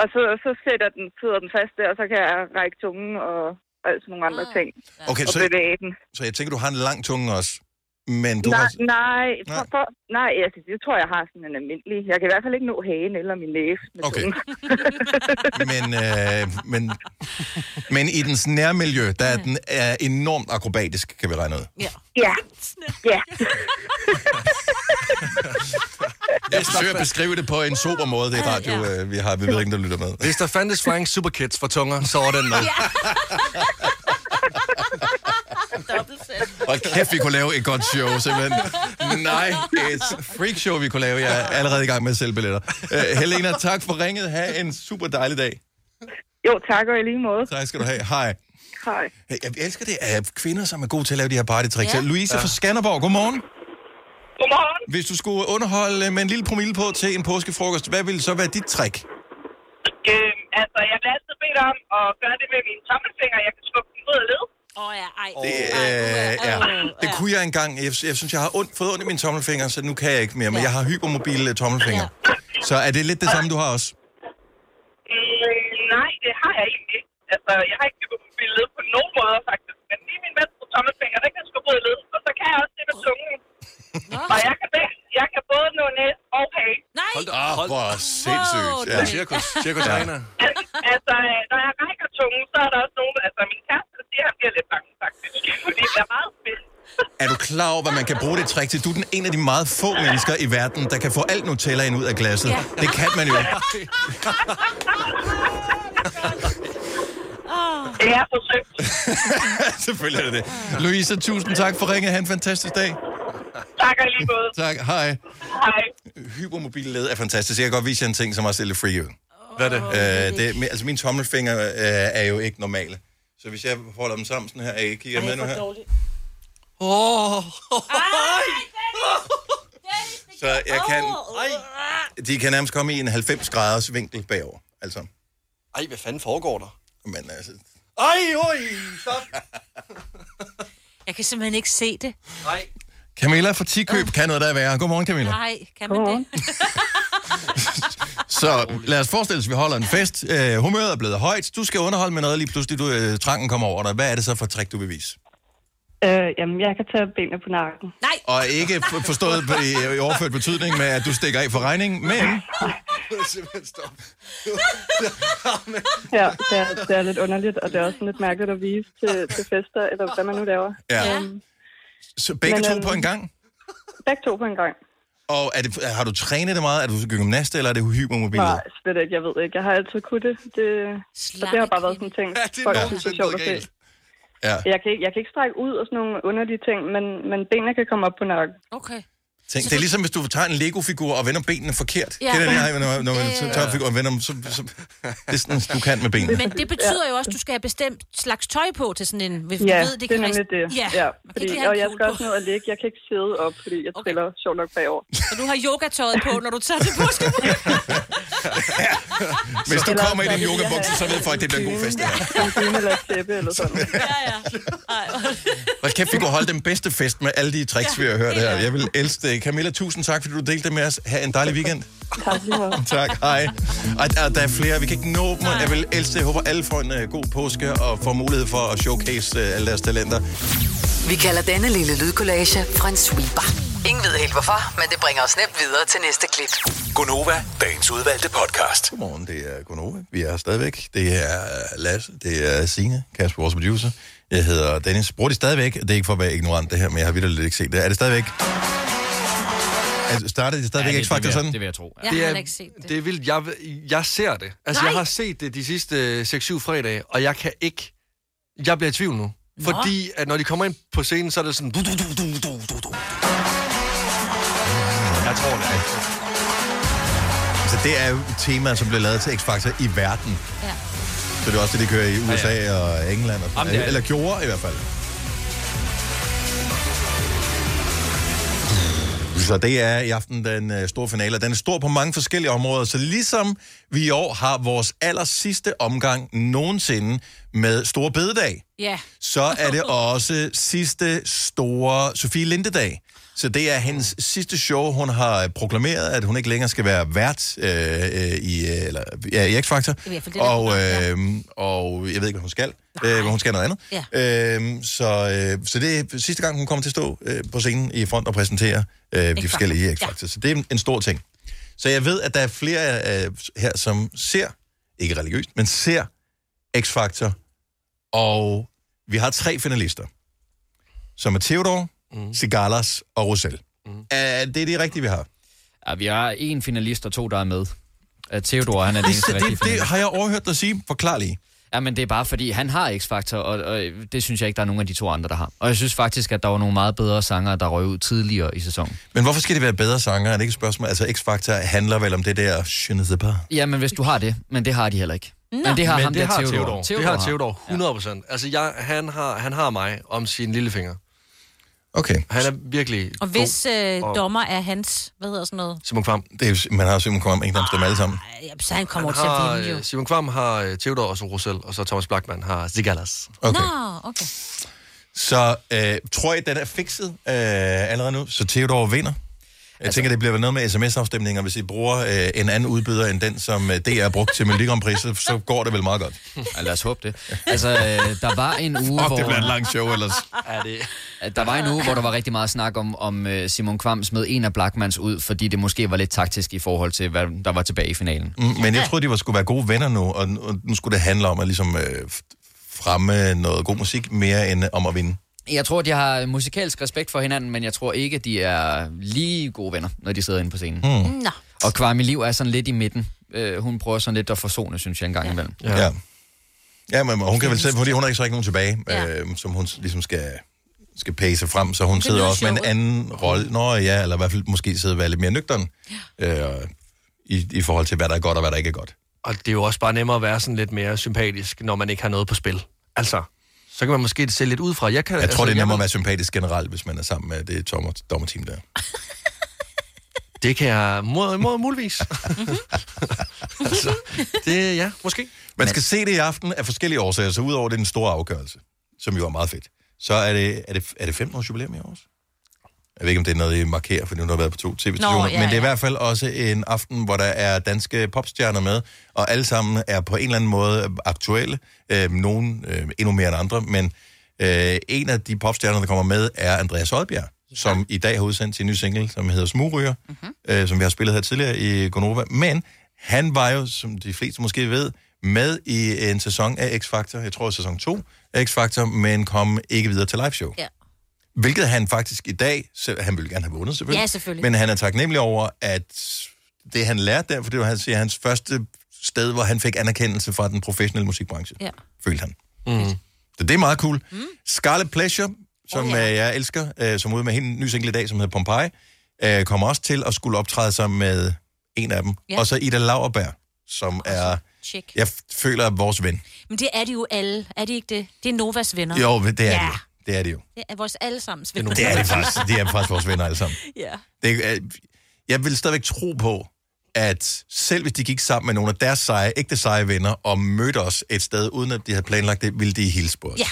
[SPEAKER 18] og så, så sætter den, sidder den fast der, og så kan jeg række tungen og altså nogle
[SPEAKER 2] Ah.
[SPEAKER 18] andre ting.
[SPEAKER 1] Okay,
[SPEAKER 18] og
[SPEAKER 1] så-
[SPEAKER 18] bevæge den.
[SPEAKER 1] Så jeg tænker, du har en lang tunge også. Men du
[SPEAKER 18] nej,
[SPEAKER 1] har...
[SPEAKER 18] nej, for, for, nej altså, det tror jeg jeg har sådan en almindelig. Jeg kan i hvert fald ikke nå hagen eller min næse med
[SPEAKER 1] Okay.
[SPEAKER 18] tungen.
[SPEAKER 1] Men, øh, men, men i dens nærmiljø, der er den er enormt akrobatisk, kan vi regne ud.
[SPEAKER 18] Ja. Ja. ja.
[SPEAKER 1] Jeg forsøger at beskrive det på en sober måde, det radio, øh, vi har. Vi ved ikke, om der lytter med.
[SPEAKER 3] Hvis der fandtes Flying Superkids for tunger, så var den med.
[SPEAKER 1] Hold kæft, vi kunne lave et godt show, simpelthen. Nej, et freak show, vi kunne lave. Jeg er allerede i gang med at sælge billetter. Uh, Helena, tak for ringet. Ha' en super dejlig dag.
[SPEAKER 18] Jo, tak og i lige måde.
[SPEAKER 1] Tak skal du have. Hej.
[SPEAKER 18] Hej.
[SPEAKER 1] Hey, Jeg elsker det af kvinder, som er gode til at lave de her partytricks.
[SPEAKER 18] Ja.
[SPEAKER 1] Ja. Louise
[SPEAKER 18] Ja.
[SPEAKER 1] fra Skanderborg, godmorgen.
[SPEAKER 18] Godmorgen.
[SPEAKER 1] Hvis du skulle underholde med en lille promille på til en påskefrokost, hvad ville så være dit trick?
[SPEAKER 18] Øh, altså, jeg bliver altid bedt om at gøre det med min tommelfinger. Jeg kan skubbe den ud af led.
[SPEAKER 11] Åh oh, ja, ej.
[SPEAKER 1] Det, øh, ja. det kunne jeg engang. Jeg, jeg synes, jeg har ondt, fået ondt i mine tommelfinger, så nu kan jeg ikke mere. Men jeg har hypermobile øh, tommelfinger. Så er det lidt det samme, du har også?
[SPEAKER 18] Øh, nej, det har jeg egentlig ikke. Altså, jeg har ikke hypermobil led på nogen måder, faktisk. Men lige min venstre tommelfinger, den kan skubbe ud af led. Og så kan jeg også det med tungen. Og jeg kan, begge, jeg kan både nå næs og hage. Nej!
[SPEAKER 1] Hold da op, hold. hvor sindssygt.
[SPEAKER 18] Wow, det-
[SPEAKER 3] Cirkus, cirkus
[SPEAKER 1] Ja.
[SPEAKER 18] altså, øh, når jeg rækker tungen, så er der også nogen... Altså, min kæreste der siger, at han bliver lidt bange, faktisk. Fordi det er meget spændt.
[SPEAKER 1] Er du klar over, hvad man kan bruge det trick til? Du er den en af de meget få mennesker i verden, der kan få alt Nutella ind ud af glasset.
[SPEAKER 18] Ja.
[SPEAKER 1] Ja. Det kan man jo.
[SPEAKER 18] Det er forsøgt.
[SPEAKER 1] Selvfølgelig er det det. Louise, tusind tak for ringet. Ha' en fantastisk dag.
[SPEAKER 18] Tak og lige måde.
[SPEAKER 1] Tak, hej.
[SPEAKER 18] Hej.
[SPEAKER 1] Hypermobile led er fantastisk. Jeg kan godt vise jer en ting, som også er lidt freak ud.
[SPEAKER 3] Hvad er det?
[SPEAKER 1] Øh, det er- altså, mine tommelfinger øh, er jo ikke normale. Så hvis jeg holder dem sammen sådan her, er I kigger med nu her,
[SPEAKER 3] Åh.
[SPEAKER 1] så jeg kan, de kan nærmest komme i en 90-graders vinkel bagover. Altså,
[SPEAKER 3] Ej, hvad fanden foregår der?
[SPEAKER 1] men altså,
[SPEAKER 3] Ej, oj, stop.
[SPEAKER 2] Jeg kan simpelthen ikke se det.
[SPEAKER 3] Nej.
[SPEAKER 1] Camilla fra Tikøb kan noget der er værre. Godmorgen, Camilla.
[SPEAKER 2] Nej, kan man det?
[SPEAKER 1] Så lad os forestille os, at vi holder en fest. Øh, humøret er blevet højt. Du skal underholde med noget, lige pludselig du, øh, trangen kommer over dig. Hvad er det så for et trick, du vil vise?
[SPEAKER 22] Øh, jamen, jeg kan tage benene på nakken.
[SPEAKER 2] Nej!
[SPEAKER 1] Og ikke for- forstået på- i, i overført betydning med, at du stikker af for regningen, men
[SPEAKER 3] Simpelthen stop.
[SPEAKER 22] Ja, det er, det er lidt underligt, og det er også sådan lidt mærkeligt at vise til, til fester, eller hvad man nu laver.
[SPEAKER 1] ja.
[SPEAKER 22] Øhm,
[SPEAKER 1] Så begge
[SPEAKER 22] Men,
[SPEAKER 1] to
[SPEAKER 22] øhm,
[SPEAKER 1] på en gang?
[SPEAKER 22] Begge to på en gang.
[SPEAKER 1] Og er det, har du trænet det meget? Er du gymnast, eller er det hypermobilet?
[SPEAKER 22] Nej, slet ikke. Jeg ved ikke. Jeg har altid kunnet det. det så det har bare været sådan en ting,
[SPEAKER 18] Ja, det er
[SPEAKER 22] folk
[SPEAKER 18] nogensinde
[SPEAKER 22] synes er sjovt at se.
[SPEAKER 18] galt.
[SPEAKER 1] Ja.
[SPEAKER 22] Jeg, kan, ikke- jeg kan ikke strække ud og sådan nogle underlige ting, men, men benene kan komme op på nakken.
[SPEAKER 2] Okay.
[SPEAKER 1] Tænk, det er ligesom, hvis du tager en Lego-figur og vender benene forkert.
[SPEAKER 2] Ja.
[SPEAKER 1] Ja. Kender det, når, når man
[SPEAKER 2] Ja, ja, ja.
[SPEAKER 1] tager en figur og vender dem, så, så, det er sådan, du kan med benene.
[SPEAKER 2] Men det betyder jo også, at du skal have bestemt slags tøj på til sådan en... Hvis
[SPEAKER 22] Ja,
[SPEAKER 2] du ved, det,
[SPEAKER 22] det er
[SPEAKER 2] kan
[SPEAKER 22] nemlig
[SPEAKER 2] rist-
[SPEAKER 22] det.
[SPEAKER 2] Ja,
[SPEAKER 22] ja
[SPEAKER 2] man kan
[SPEAKER 22] fordi,
[SPEAKER 2] ikke lige have
[SPEAKER 22] og
[SPEAKER 2] en
[SPEAKER 22] jeg
[SPEAKER 2] kjole
[SPEAKER 22] skal også ned og ligge. Jeg kan ikke sidde op, fordi jeg spiller sjovt nok bagover.
[SPEAKER 2] på. Og du har yogatøjet på, når du tager til påske.
[SPEAKER 1] Hvis du
[SPEAKER 22] Eller
[SPEAKER 1] kommer i
[SPEAKER 22] så
[SPEAKER 1] din
[SPEAKER 22] vil jeg
[SPEAKER 1] yogabukse,
[SPEAKER 22] have
[SPEAKER 1] så ved folk, at det bliver en god fest. det her.
[SPEAKER 22] En dyne eller et tæppe eller sådan.
[SPEAKER 1] Hold kæft, vi kunne holde den bedste fest med alle de tricks, vi har hørt her. Jeg vil elske det øh, Camilla, tusind tak, fordi du delte det med os. Ha' en dejlig weekend.
[SPEAKER 10] Tak lige meget.
[SPEAKER 1] tak, hej. Og der, der er flere, vi kan ikke nå dem. og Jeg vil elske, jeg håber alle får en øh, god påske og får mulighed for at showcase øh, alle deres talenter.
[SPEAKER 4] Vi kalder denne lille lydkollage en sweeper. Ingen ved helt hvorfor, men det bringer os nemt videre til næste klip.
[SPEAKER 1] Gonova, dagens udvalgte podcast. Godmorgen, det er Gonova. Vi er stadigvæk. Det er øh, Lasse, det er Signe, Kasper, vores producer. Jeg hedder Dennis. Bruger det stadigvæk? Det er ikke for at være ignorant det her, men jeg har vildt lidt ikke set det. Er det stadigvæk... Er, startede det stadigvæk
[SPEAKER 7] Ja,
[SPEAKER 1] ja,
[SPEAKER 7] det-
[SPEAKER 1] X-Factor
[SPEAKER 7] det vil jeg-
[SPEAKER 1] sådan?
[SPEAKER 7] det vil jeg tro,
[SPEAKER 20] Jeg har heller ikke set det.
[SPEAKER 3] Det er vildt. Jeg, jeg ser det. Altså,
[SPEAKER 20] Nej!
[SPEAKER 3] jeg har set det de sidste 6-7 fredage, og jeg kan ikke... Jeg bliver i tvivl nu.
[SPEAKER 20] Nå.
[SPEAKER 3] Fordi, at når de kommer ind på scenen, så er det sådan... Du, du, du, du, du, du, du. Jeg tror det.
[SPEAKER 1] Så det er jo temaet, som blev lavet til X-Factor i verden.
[SPEAKER 20] Ja.
[SPEAKER 1] Så det er også det, de kører i USA ja, ja. og England. Og,
[SPEAKER 7] Jamen, det er det.
[SPEAKER 1] eller gjorde i hvert fald. Så det er i aften den øh, store finale. Den er stor på mange forskellige områder. Så ligesom vi i år har vores aller sidste omgang nogensinde med Store Bededag,
[SPEAKER 20] Ja.
[SPEAKER 1] så er det også sidste store Sofie Lindedag. Så det er hendes sidste show. Hun har øh, proklameret, at hun ikke længere skal være vært øh, øh, i, øh, eller, ja, i X-Factor.
[SPEAKER 16] I hvert fald det, der
[SPEAKER 1] Og, øh, og jeg ved ikke, hvad hun skal. Øh, men hun skal noget andet.
[SPEAKER 16] Ja.
[SPEAKER 1] Øh, så, øh, så det er sidste gang, hun kommer til at stå øh, på scenen i front og præsentere øh, de
[SPEAKER 16] X-Factor.
[SPEAKER 1] forskellige
[SPEAKER 16] Ja.
[SPEAKER 1] X-Factor. Så det er en, en stor ting. Så jeg ved, at der er flere øh, her, som ser, ikke religiøst, men ser X-Factor og vi har tre finalister, som er Theodor, mm. Sigalas og Rosel. Mm. Er det de rigtige, vi har?
[SPEAKER 7] Ja, vi har en finalist og to, der er med. Øh, Theodor, han er den
[SPEAKER 1] Det-
[SPEAKER 7] eneste
[SPEAKER 1] det-
[SPEAKER 7] rigtige
[SPEAKER 1] det har jeg overhørt dig sige. Forklar lige.
[SPEAKER 7] Ja, men det er bare fordi, han har X-Factor, og, og det synes jeg ikke, der er nogen af de to andre, der har. Og jeg synes faktisk, at der var nogle meget bedre sanger, der røg ud tidligere i sæsonen.
[SPEAKER 1] Men hvorfor skal det være bedre sanger? Er det ikke et spørgsmål? Altså, X-Factor handler vel om det der... Je ne sais pas.
[SPEAKER 7] Ja, men hvis du har det, men det har de heller ikke. Men det har
[SPEAKER 3] Men
[SPEAKER 7] ham
[SPEAKER 3] det
[SPEAKER 7] der
[SPEAKER 3] har
[SPEAKER 7] Theodor.
[SPEAKER 3] Theodor. Det har Theodor 100 procent. Ja. Altså, jeg, han, har, han har mig om sin lillefinger.
[SPEAKER 1] Okay.
[SPEAKER 3] Han er virkelig
[SPEAKER 20] Og hvis øh,
[SPEAKER 3] og-
[SPEAKER 20] dommer er hans, hvad hedder sådan noget?
[SPEAKER 3] Simon Kvam.
[SPEAKER 1] Det er, jo- man har jo Simon Kvam, en af dem alle sammen.
[SPEAKER 20] Ja, så han kommer
[SPEAKER 3] Han
[SPEAKER 20] til at
[SPEAKER 3] har,
[SPEAKER 20] vinde jo.
[SPEAKER 3] øh, Simon Kvam har øh, Theodor og så Rosel, og så Thomas Blackman har Zigalas.
[SPEAKER 1] Okay.
[SPEAKER 20] Nå, okay.
[SPEAKER 1] Så øh, tror jeg, den er fikset øh, allerede nu, så Theodor vinder?
[SPEAKER 7] Altså-
[SPEAKER 1] Jeg tænker, det bliver vel noget med sms-afstemninger. Hvis I bruger øh, en anden udbyder end den, som øh, DR brugte til Melodi Grand Prix, så, så går det vel meget godt.
[SPEAKER 7] Ja, lad os håbe det. Altså, øh, der var en uge,
[SPEAKER 1] Fuck,
[SPEAKER 7] hvor...
[SPEAKER 1] det bliver et langt show ellers.
[SPEAKER 3] Er det...
[SPEAKER 7] Der var en uge, hvor der var rigtig meget snak om, om øh, Simon Kvam smed en af Blackmans ud, fordi det måske var lidt taktisk i forhold til, hvad der var tilbage i finalen.
[SPEAKER 1] Mm, Men jeg troede, de var skulle være gode venner nu, og nu, og nu skulle det handle om at ligesom, øh, f- fremme noget god musik mere end om at vinde.
[SPEAKER 7] Jeg tror, de har musikalsk respekt for hinanden, men jeg tror ikke, de er lige gode venner, når de sidder inde på scenen.
[SPEAKER 1] Mm.
[SPEAKER 20] Nå.
[SPEAKER 7] Og Kvarmi Liv er sådan lidt i midten. Øh, hun prøver sådan lidt at forsone, synes jeg, en gang imellem.
[SPEAKER 1] Ja. ja. Ja, men hun kan vel selv, fordi hun har ikke så ikke nogen tilbage, ja. øh, som hun s- ligesom skal, skal pace frem, så hun
[SPEAKER 7] Det
[SPEAKER 1] sidder
[SPEAKER 7] lyder
[SPEAKER 1] også med en
[SPEAKER 7] sjovt.
[SPEAKER 1] anden rolle. Nå ja, eller i hvert fald måske sidde og være lidt mere nøgteren øh, i, i forhold til, hvad der er godt og hvad der ikke er godt.
[SPEAKER 3] Og det er jo også bare nemmere at være sådan lidt mere sympatisk, når man ikke har noget på spil. Altså, så kan man måske se lidt ud fra. Jeg, kan,
[SPEAKER 1] Jeg
[SPEAKER 3] altså,
[SPEAKER 1] tror, det er nemmere at
[SPEAKER 3] vil-
[SPEAKER 1] være sympatisk generelt, hvis man er sammen med det dommer, dommerteam der.
[SPEAKER 3] Det kan jeg må, må, muligvis. altså, det, ja, måske.
[SPEAKER 1] Man skal se det i aften af forskellige årsager, så udover den store afgørelse, som jo er meget fedt, så er det, er det, er det 15 års jubilæum i år også? Jeg ved ikke, om det er noget, I markerer, for nu har der været på to tv-stationer,
[SPEAKER 16] Nå,
[SPEAKER 1] ja,
[SPEAKER 16] ja,
[SPEAKER 1] men det er i
[SPEAKER 16] ja.
[SPEAKER 1] hvert fald også en aften, hvor der er danske popstjerner med, og alle sammen er på en eller anden måde aktuelle, øh, nogen øh, endnu mere end andre, men øh, en af de popstjerner, der kommer med, er Andreas Oddbjerg, ja. som i dag har udsendt sin nye single, som hedder Smugryger, mm-hmm. øh, som vi har spillet her tidligere i Gonova, men han var jo, som de fleste måske ved, med i en sæson af X-Factor, jeg tror sæson 2 af X-Factor, men kom ikke videre til liveshow.
[SPEAKER 20] Ja.
[SPEAKER 1] Hvilket han faktisk i dag, selv, han ville gerne have vundet selvfølgelig,
[SPEAKER 20] Ja, selvfølgelig.
[SPEAKER 1] men han er taknemmelig over, at det han lærte der, for det var han siger, hans første sted, hvor han fik anerkendelse fra den professionelle musikbranche,
[SPEAKER 20] Ja.
[SPEAKER 1] følte han. Mm. Så det er meget cool. Mm. Scarlet Pleasure, som oh, ja. jeg elsker, øh, som er ude med hende en ny single i dag, som hedder Pompeii, øh, kommer også til at skulle optræde sammen med en af dem.
[SPEAKER 20] Ja.
[SPEAKER 1] Ja. Og så Ida Lauerberg, som er,
[SPEAKER 20] Check.
[SPEAKER 1] jeg føler, er vores ven.
[SPEAKER 20] Men det er de jo alle. Er de ikke det? Det er Novas venner.
[SPEAKER 1] Jo, det er
[SPEAKER 20] ja.
[SPEAKER 1] det jo. Det er det jo.
[SPEAKER 20] Det er vores allesammens venner.
[SPEAKER 1] Det er det faktisk. De er faktisk vores venner alle sammen.
[SPEAKER 20] Ja.
[SPEAKER 1] Det, er- jeg vil stadigvæk tro på, at selv hvis de gik sammen med nogle af deres seje, ægte seje venner og mødte os et sted, uden at de havde planlagt det, ville de hilse på os.
[SPEAKER 20] Ja.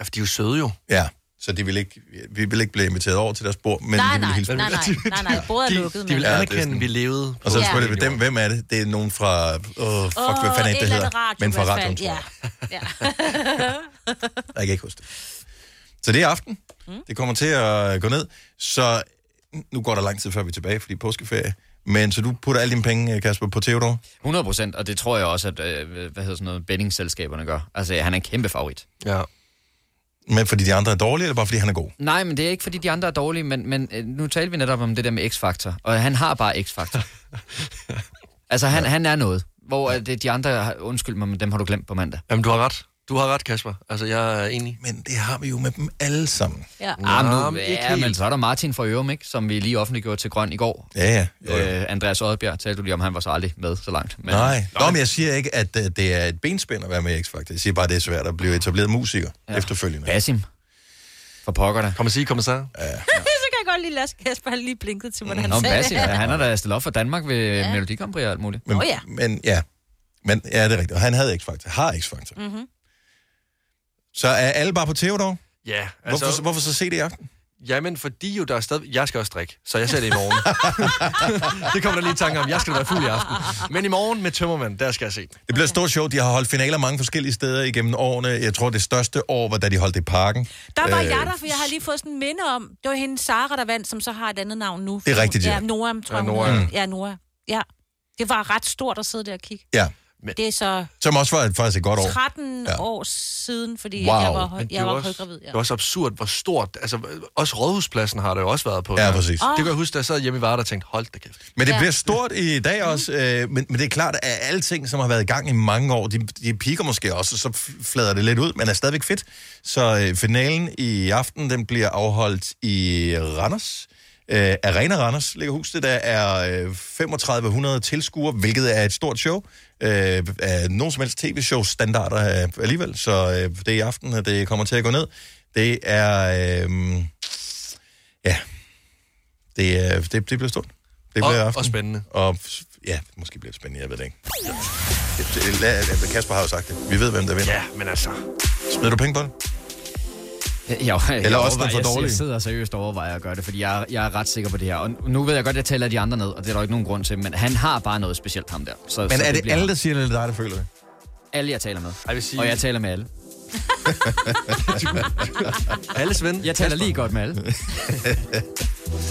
[SPEAKER 3] Ja, for de er jo søde jo.
[SPEAKER 1] Ja. Så de vil ikke, vi vil ikke blive inviteret over til deres bord, men
[SPEAKER 20] nej,
[SPEAKER 1] vi vil
[SPEAKER 20] nej,
[SPEAKER 1] hilse på
[SPEAKER 20] nej,
[SPEAKER 1] dem.
[SPEAKER 20] nej, nej, nej, bordet er lukket.
[SPEAKER 1] det
[SPEAKER 20] men-
[SPEAKER 1] er
[SPEAKER 3] anerkende, vi levede.
[SPEAKER 1] Og så
[SPEAKER 20] på
[SPEAKER 1] selvfølgelig,
[SPEAKER 20] jorden.
[SPEAKER 1] ja. dem, hvem er det? Det er nogen fra, åh, fuck,
[SPEAKER 20] Åh,
[SPEAKER 1] hvad fanden er
[SPEAKER 20] et
[SPEAKER 1] det, det
[SPEAKER 20] eller
[SPEAKER 1] hedder?
[SPEAKER 20] andet radio
[SPEAKER 1] Men
[SPEAKER 20] i
[SPEAKER 1] fra
[SPEAKER 20] hvert fald,
[SPEAKER 1] radioen, tror jeg.
[SPEAKER 20] Ja. ja.
[SPEAKER 1] Jeg kan ikke huske det. Så det er aften. Mm. Det kommer til at gå ned. Så nu går der lang tid, før vi er tilbage, fordi påskeferie. Men så du putter alle dine penge, Kasper, på Theodor?
[SPEAKER 7] 100 procent, og det tror jeg også, at øh, hvad hedder sådan noget, bettingselskaberne gør. Altså, han er en kæmpe favorit.
[SPEAKER 3] Ja.
[SPEAKER 1] Men fordi de andre er dårlige, eller bare fordi han er god?
[SPEAKER 7] Nej, men det er ikke, fordi de andre er dårlige, men, men øh, nu taler vi netop om det der med X-faktor, og han har bare X-faktor. altså, han, ja. han er noget, hvor øh, det, de andre, har- undskyld mig, men dem har du glemt på mandag.
[SPEAKER 3] Jamen, du har ret. Du har ret, Kasper. Altså, jeg er enig.
[SPEAKER 1] Men det har vi jo med dem alle sammen.
[SPEAKER 20] Ja.
[SPEAKER 7] Ah, men
[SPEAKER 3] Jamen,
[SPEAKER 7] nu,
[SPEAKER 3] ikke
[SPEAKER 7] ja,
[SPEAKER 3] helt.
[SPEAKER 7] men så er der Martin fra Ørum, ikke, som vi lige offentliggjorde til Grøn i går.
[SPEAKER 1] Ja, ja.
[SPEAKER 7] Øh, Andreas Oddbjerg talte du lige om, han var så aldrig med så langt.
[SPEAKER 1] Men, Nej. Nå, men jeg siger ikke, at øh, det er et benspænd at være med i X-Factor. Jeg siger bare, at det er svært at blive etableret musiker ja. efterfølgende.
[SPEAKER 7] Basim. For pokker da.
[SPEAKER 3] Kom og sige, kom og sige.
[SPEAKER 20] så kan jeg godt lige lade Kasper han lige blinkede til, hvordan han
[SPEAKER 7] Nå, men
[SPEAKER 20] sagde
[SPEAKER 7] Basim,
[SPEAKER 20] det.
[SPEAKER 7] han er da stillet op for Danmark ved ja. Melodi Grand Prix og alt muligt.
[SPEAKER 1] Men,
[SPEAKER 20] Nå ja.
[SPEAKER 1] Men ja. Men ja, det er rigtigt. Og han havde X-Factor. Har X-Factor.
[SPEAKER 20] Mm-hmm.
[SPEAKER 1] Så er alle bare på Theodor?
[SPEAKER 3] Ja,
[SPEAKER 1] Altså... Hvorfor, hvorfor så se det i aften?
[SPEAKER 3] Jamen, fordi jo der er stadig... Jeg skal også drikke, så jeg ser det i morgen. det kommer der lige i tanke om. Jeg skal da være fuld i aften. Men i morgen med Tømmermand, der skal jeg se. den.
[SPEAKER 1] Det bliver et stort show. De har holdt finaler mange forskellige steder igennem årene. Jeg tror, det største år var, da de holdt det i parken.
[SPEAKER 20] Der var
[SPEAKER 1] Øh,
[SPEAKER 20] øh, jeg der, for jeg har lige fået sådan en minde om, det var hende Sara, der vandt, som så har et andet navn nu.
[SPEAKER 1] Det er rigtigt, ja.
[SPEAKER 20] ja. Nora, tror
[SPEAKER 1] Ja,
[SPEAKER 20] jeg,
[SPEAKER 1] Nora.
[SPEAKER 20] Nora. Hun.
[SPEAKER 1] Mm.
[SPEAKER 20] hedder. Ja, Nora. Ja. Det var ret stort at sidde der og kigge.
[SPEAKER 1] Ja,
[SPEAKER 20] Det er så
[SPEAKER 1] som også var faktisk et godt år.
[SPEAKER 20] 13
[SPEAKER 1] Ja.
[SPEAKER 20] ja. år siden, fordi
[SPEAKER 1] Wow.
[SPEAKER 20] wow. jeg var, høj,
[SPEAKER 3] Men det er
[SPEAKER 20] jeg
[SPEAKER 3] jo
[SPEAKER 20] var
[SPEAKER 3] også-
[SPEAKER 20] højgravid.
[SPEAKER 3] Det
[SPEAKER 20] Ja.
[SPEAKER 3] er også absurd, hvor stort... Altså, også Rådhuspladsen har det jo også været på.
[SPEAKER 1] Ja, præcis.
[SPEAKER 3] Det kan jeg huske, da jeg sad hjemme i Varde og tænkte, hold da kæft.
[SPEAKER 1] Men det ja. bliver stort i dag også, øh, men, men det er klart, at alle ting, som har været i gang i mange år, de, de piker måske også, og så f- flader det lidt ud, men er stadigvæk fedt. Så øh, finalen i aften, den bliver afholdt i Randers. Øh, Arena Randers ligger huset, der er øh, 3500 tilskuere, hvilket er et stort show. Øh, er nogen som helst tv-show standarder øh, alligevel, så øh, det er i aften, at det kommer til at gå ned. Det er... Øh, ja, det, er- det, det bliver stort. Det bliver i
[SPEAKER 3] og,
[SPEAKER 1] aften.
[SPEAKER 3] og spændende.
[SPEAKER 1] Og ja, måske bliver det spændende, jeg ved det ikke. Det, det, lad- lad- Kasper har jo sagt det. Vi ved, hvem der vinder.
[SPEAKER 3] Ja, men altså...
[SPEAKER 1] Smider du penge på det?
[SPEAKER 7] Jo, jeg
[SPEAKER 1] Eller også
[SPEAKER 7] overvejer-
[SPEAKER 1] den for
[SPEAKER 7] jeg-
[SPEAKER 1] dårlige.
[SPEAKER 7] Jeg sidder seriøst og overvejer at gøre det, fordi jeg, jeg er ret sikker på det her. Og nu ved jeg godt, at jeg tæller de andre ned, og det er der jo ikke nogen grund til, men han har bare noget specielt, ham der. Så,
[SPEAKER 1] Men
[SPEAKER 7] så
[SPEAKER 1] er det
[SPEAKER 7] bliver
[SPEAKER 1] alle,
[SPEAKER 7] ham.
[SPEAKER 1] der siger det, eller dig, der føler det?
[SPEAKER 7] Alle, jeg taler med.
[SPEAKER 3] Jeg vil sige-
[SPEAKER 7] Og jeg taler med alle.
[SPEAKER 3] Alles ven.
[SPEAKER 7] Jeg taler lige godt med alle.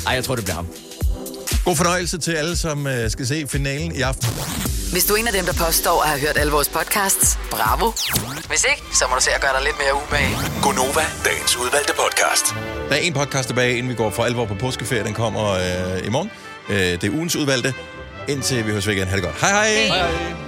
[SPEAKER 7] Ej, jeg tror, det bliver ham.
[SPEAKER 1] God fornøjelse til alle, som øh, skal se finalen i aften.
[SPEAKER 4] Hvis du er en af dem, der påstår at have hørt alle vores podcasts, bravo. Hvis ikke, så må du se at gøre dig lidt mere umage.
[SPEAKER 6] Gonova, dagens udvalgte podcast.
[SPEAKER 1] Der er en podcast tilbage, inden vi går for alvor på påskeferie. Den kommer øh, i morgen. Øh, det er ugens udvalgte. Indtil vi høres ved igen. Ha' det godt. Hej hej! hej.
[SPEAKER 6] Hej.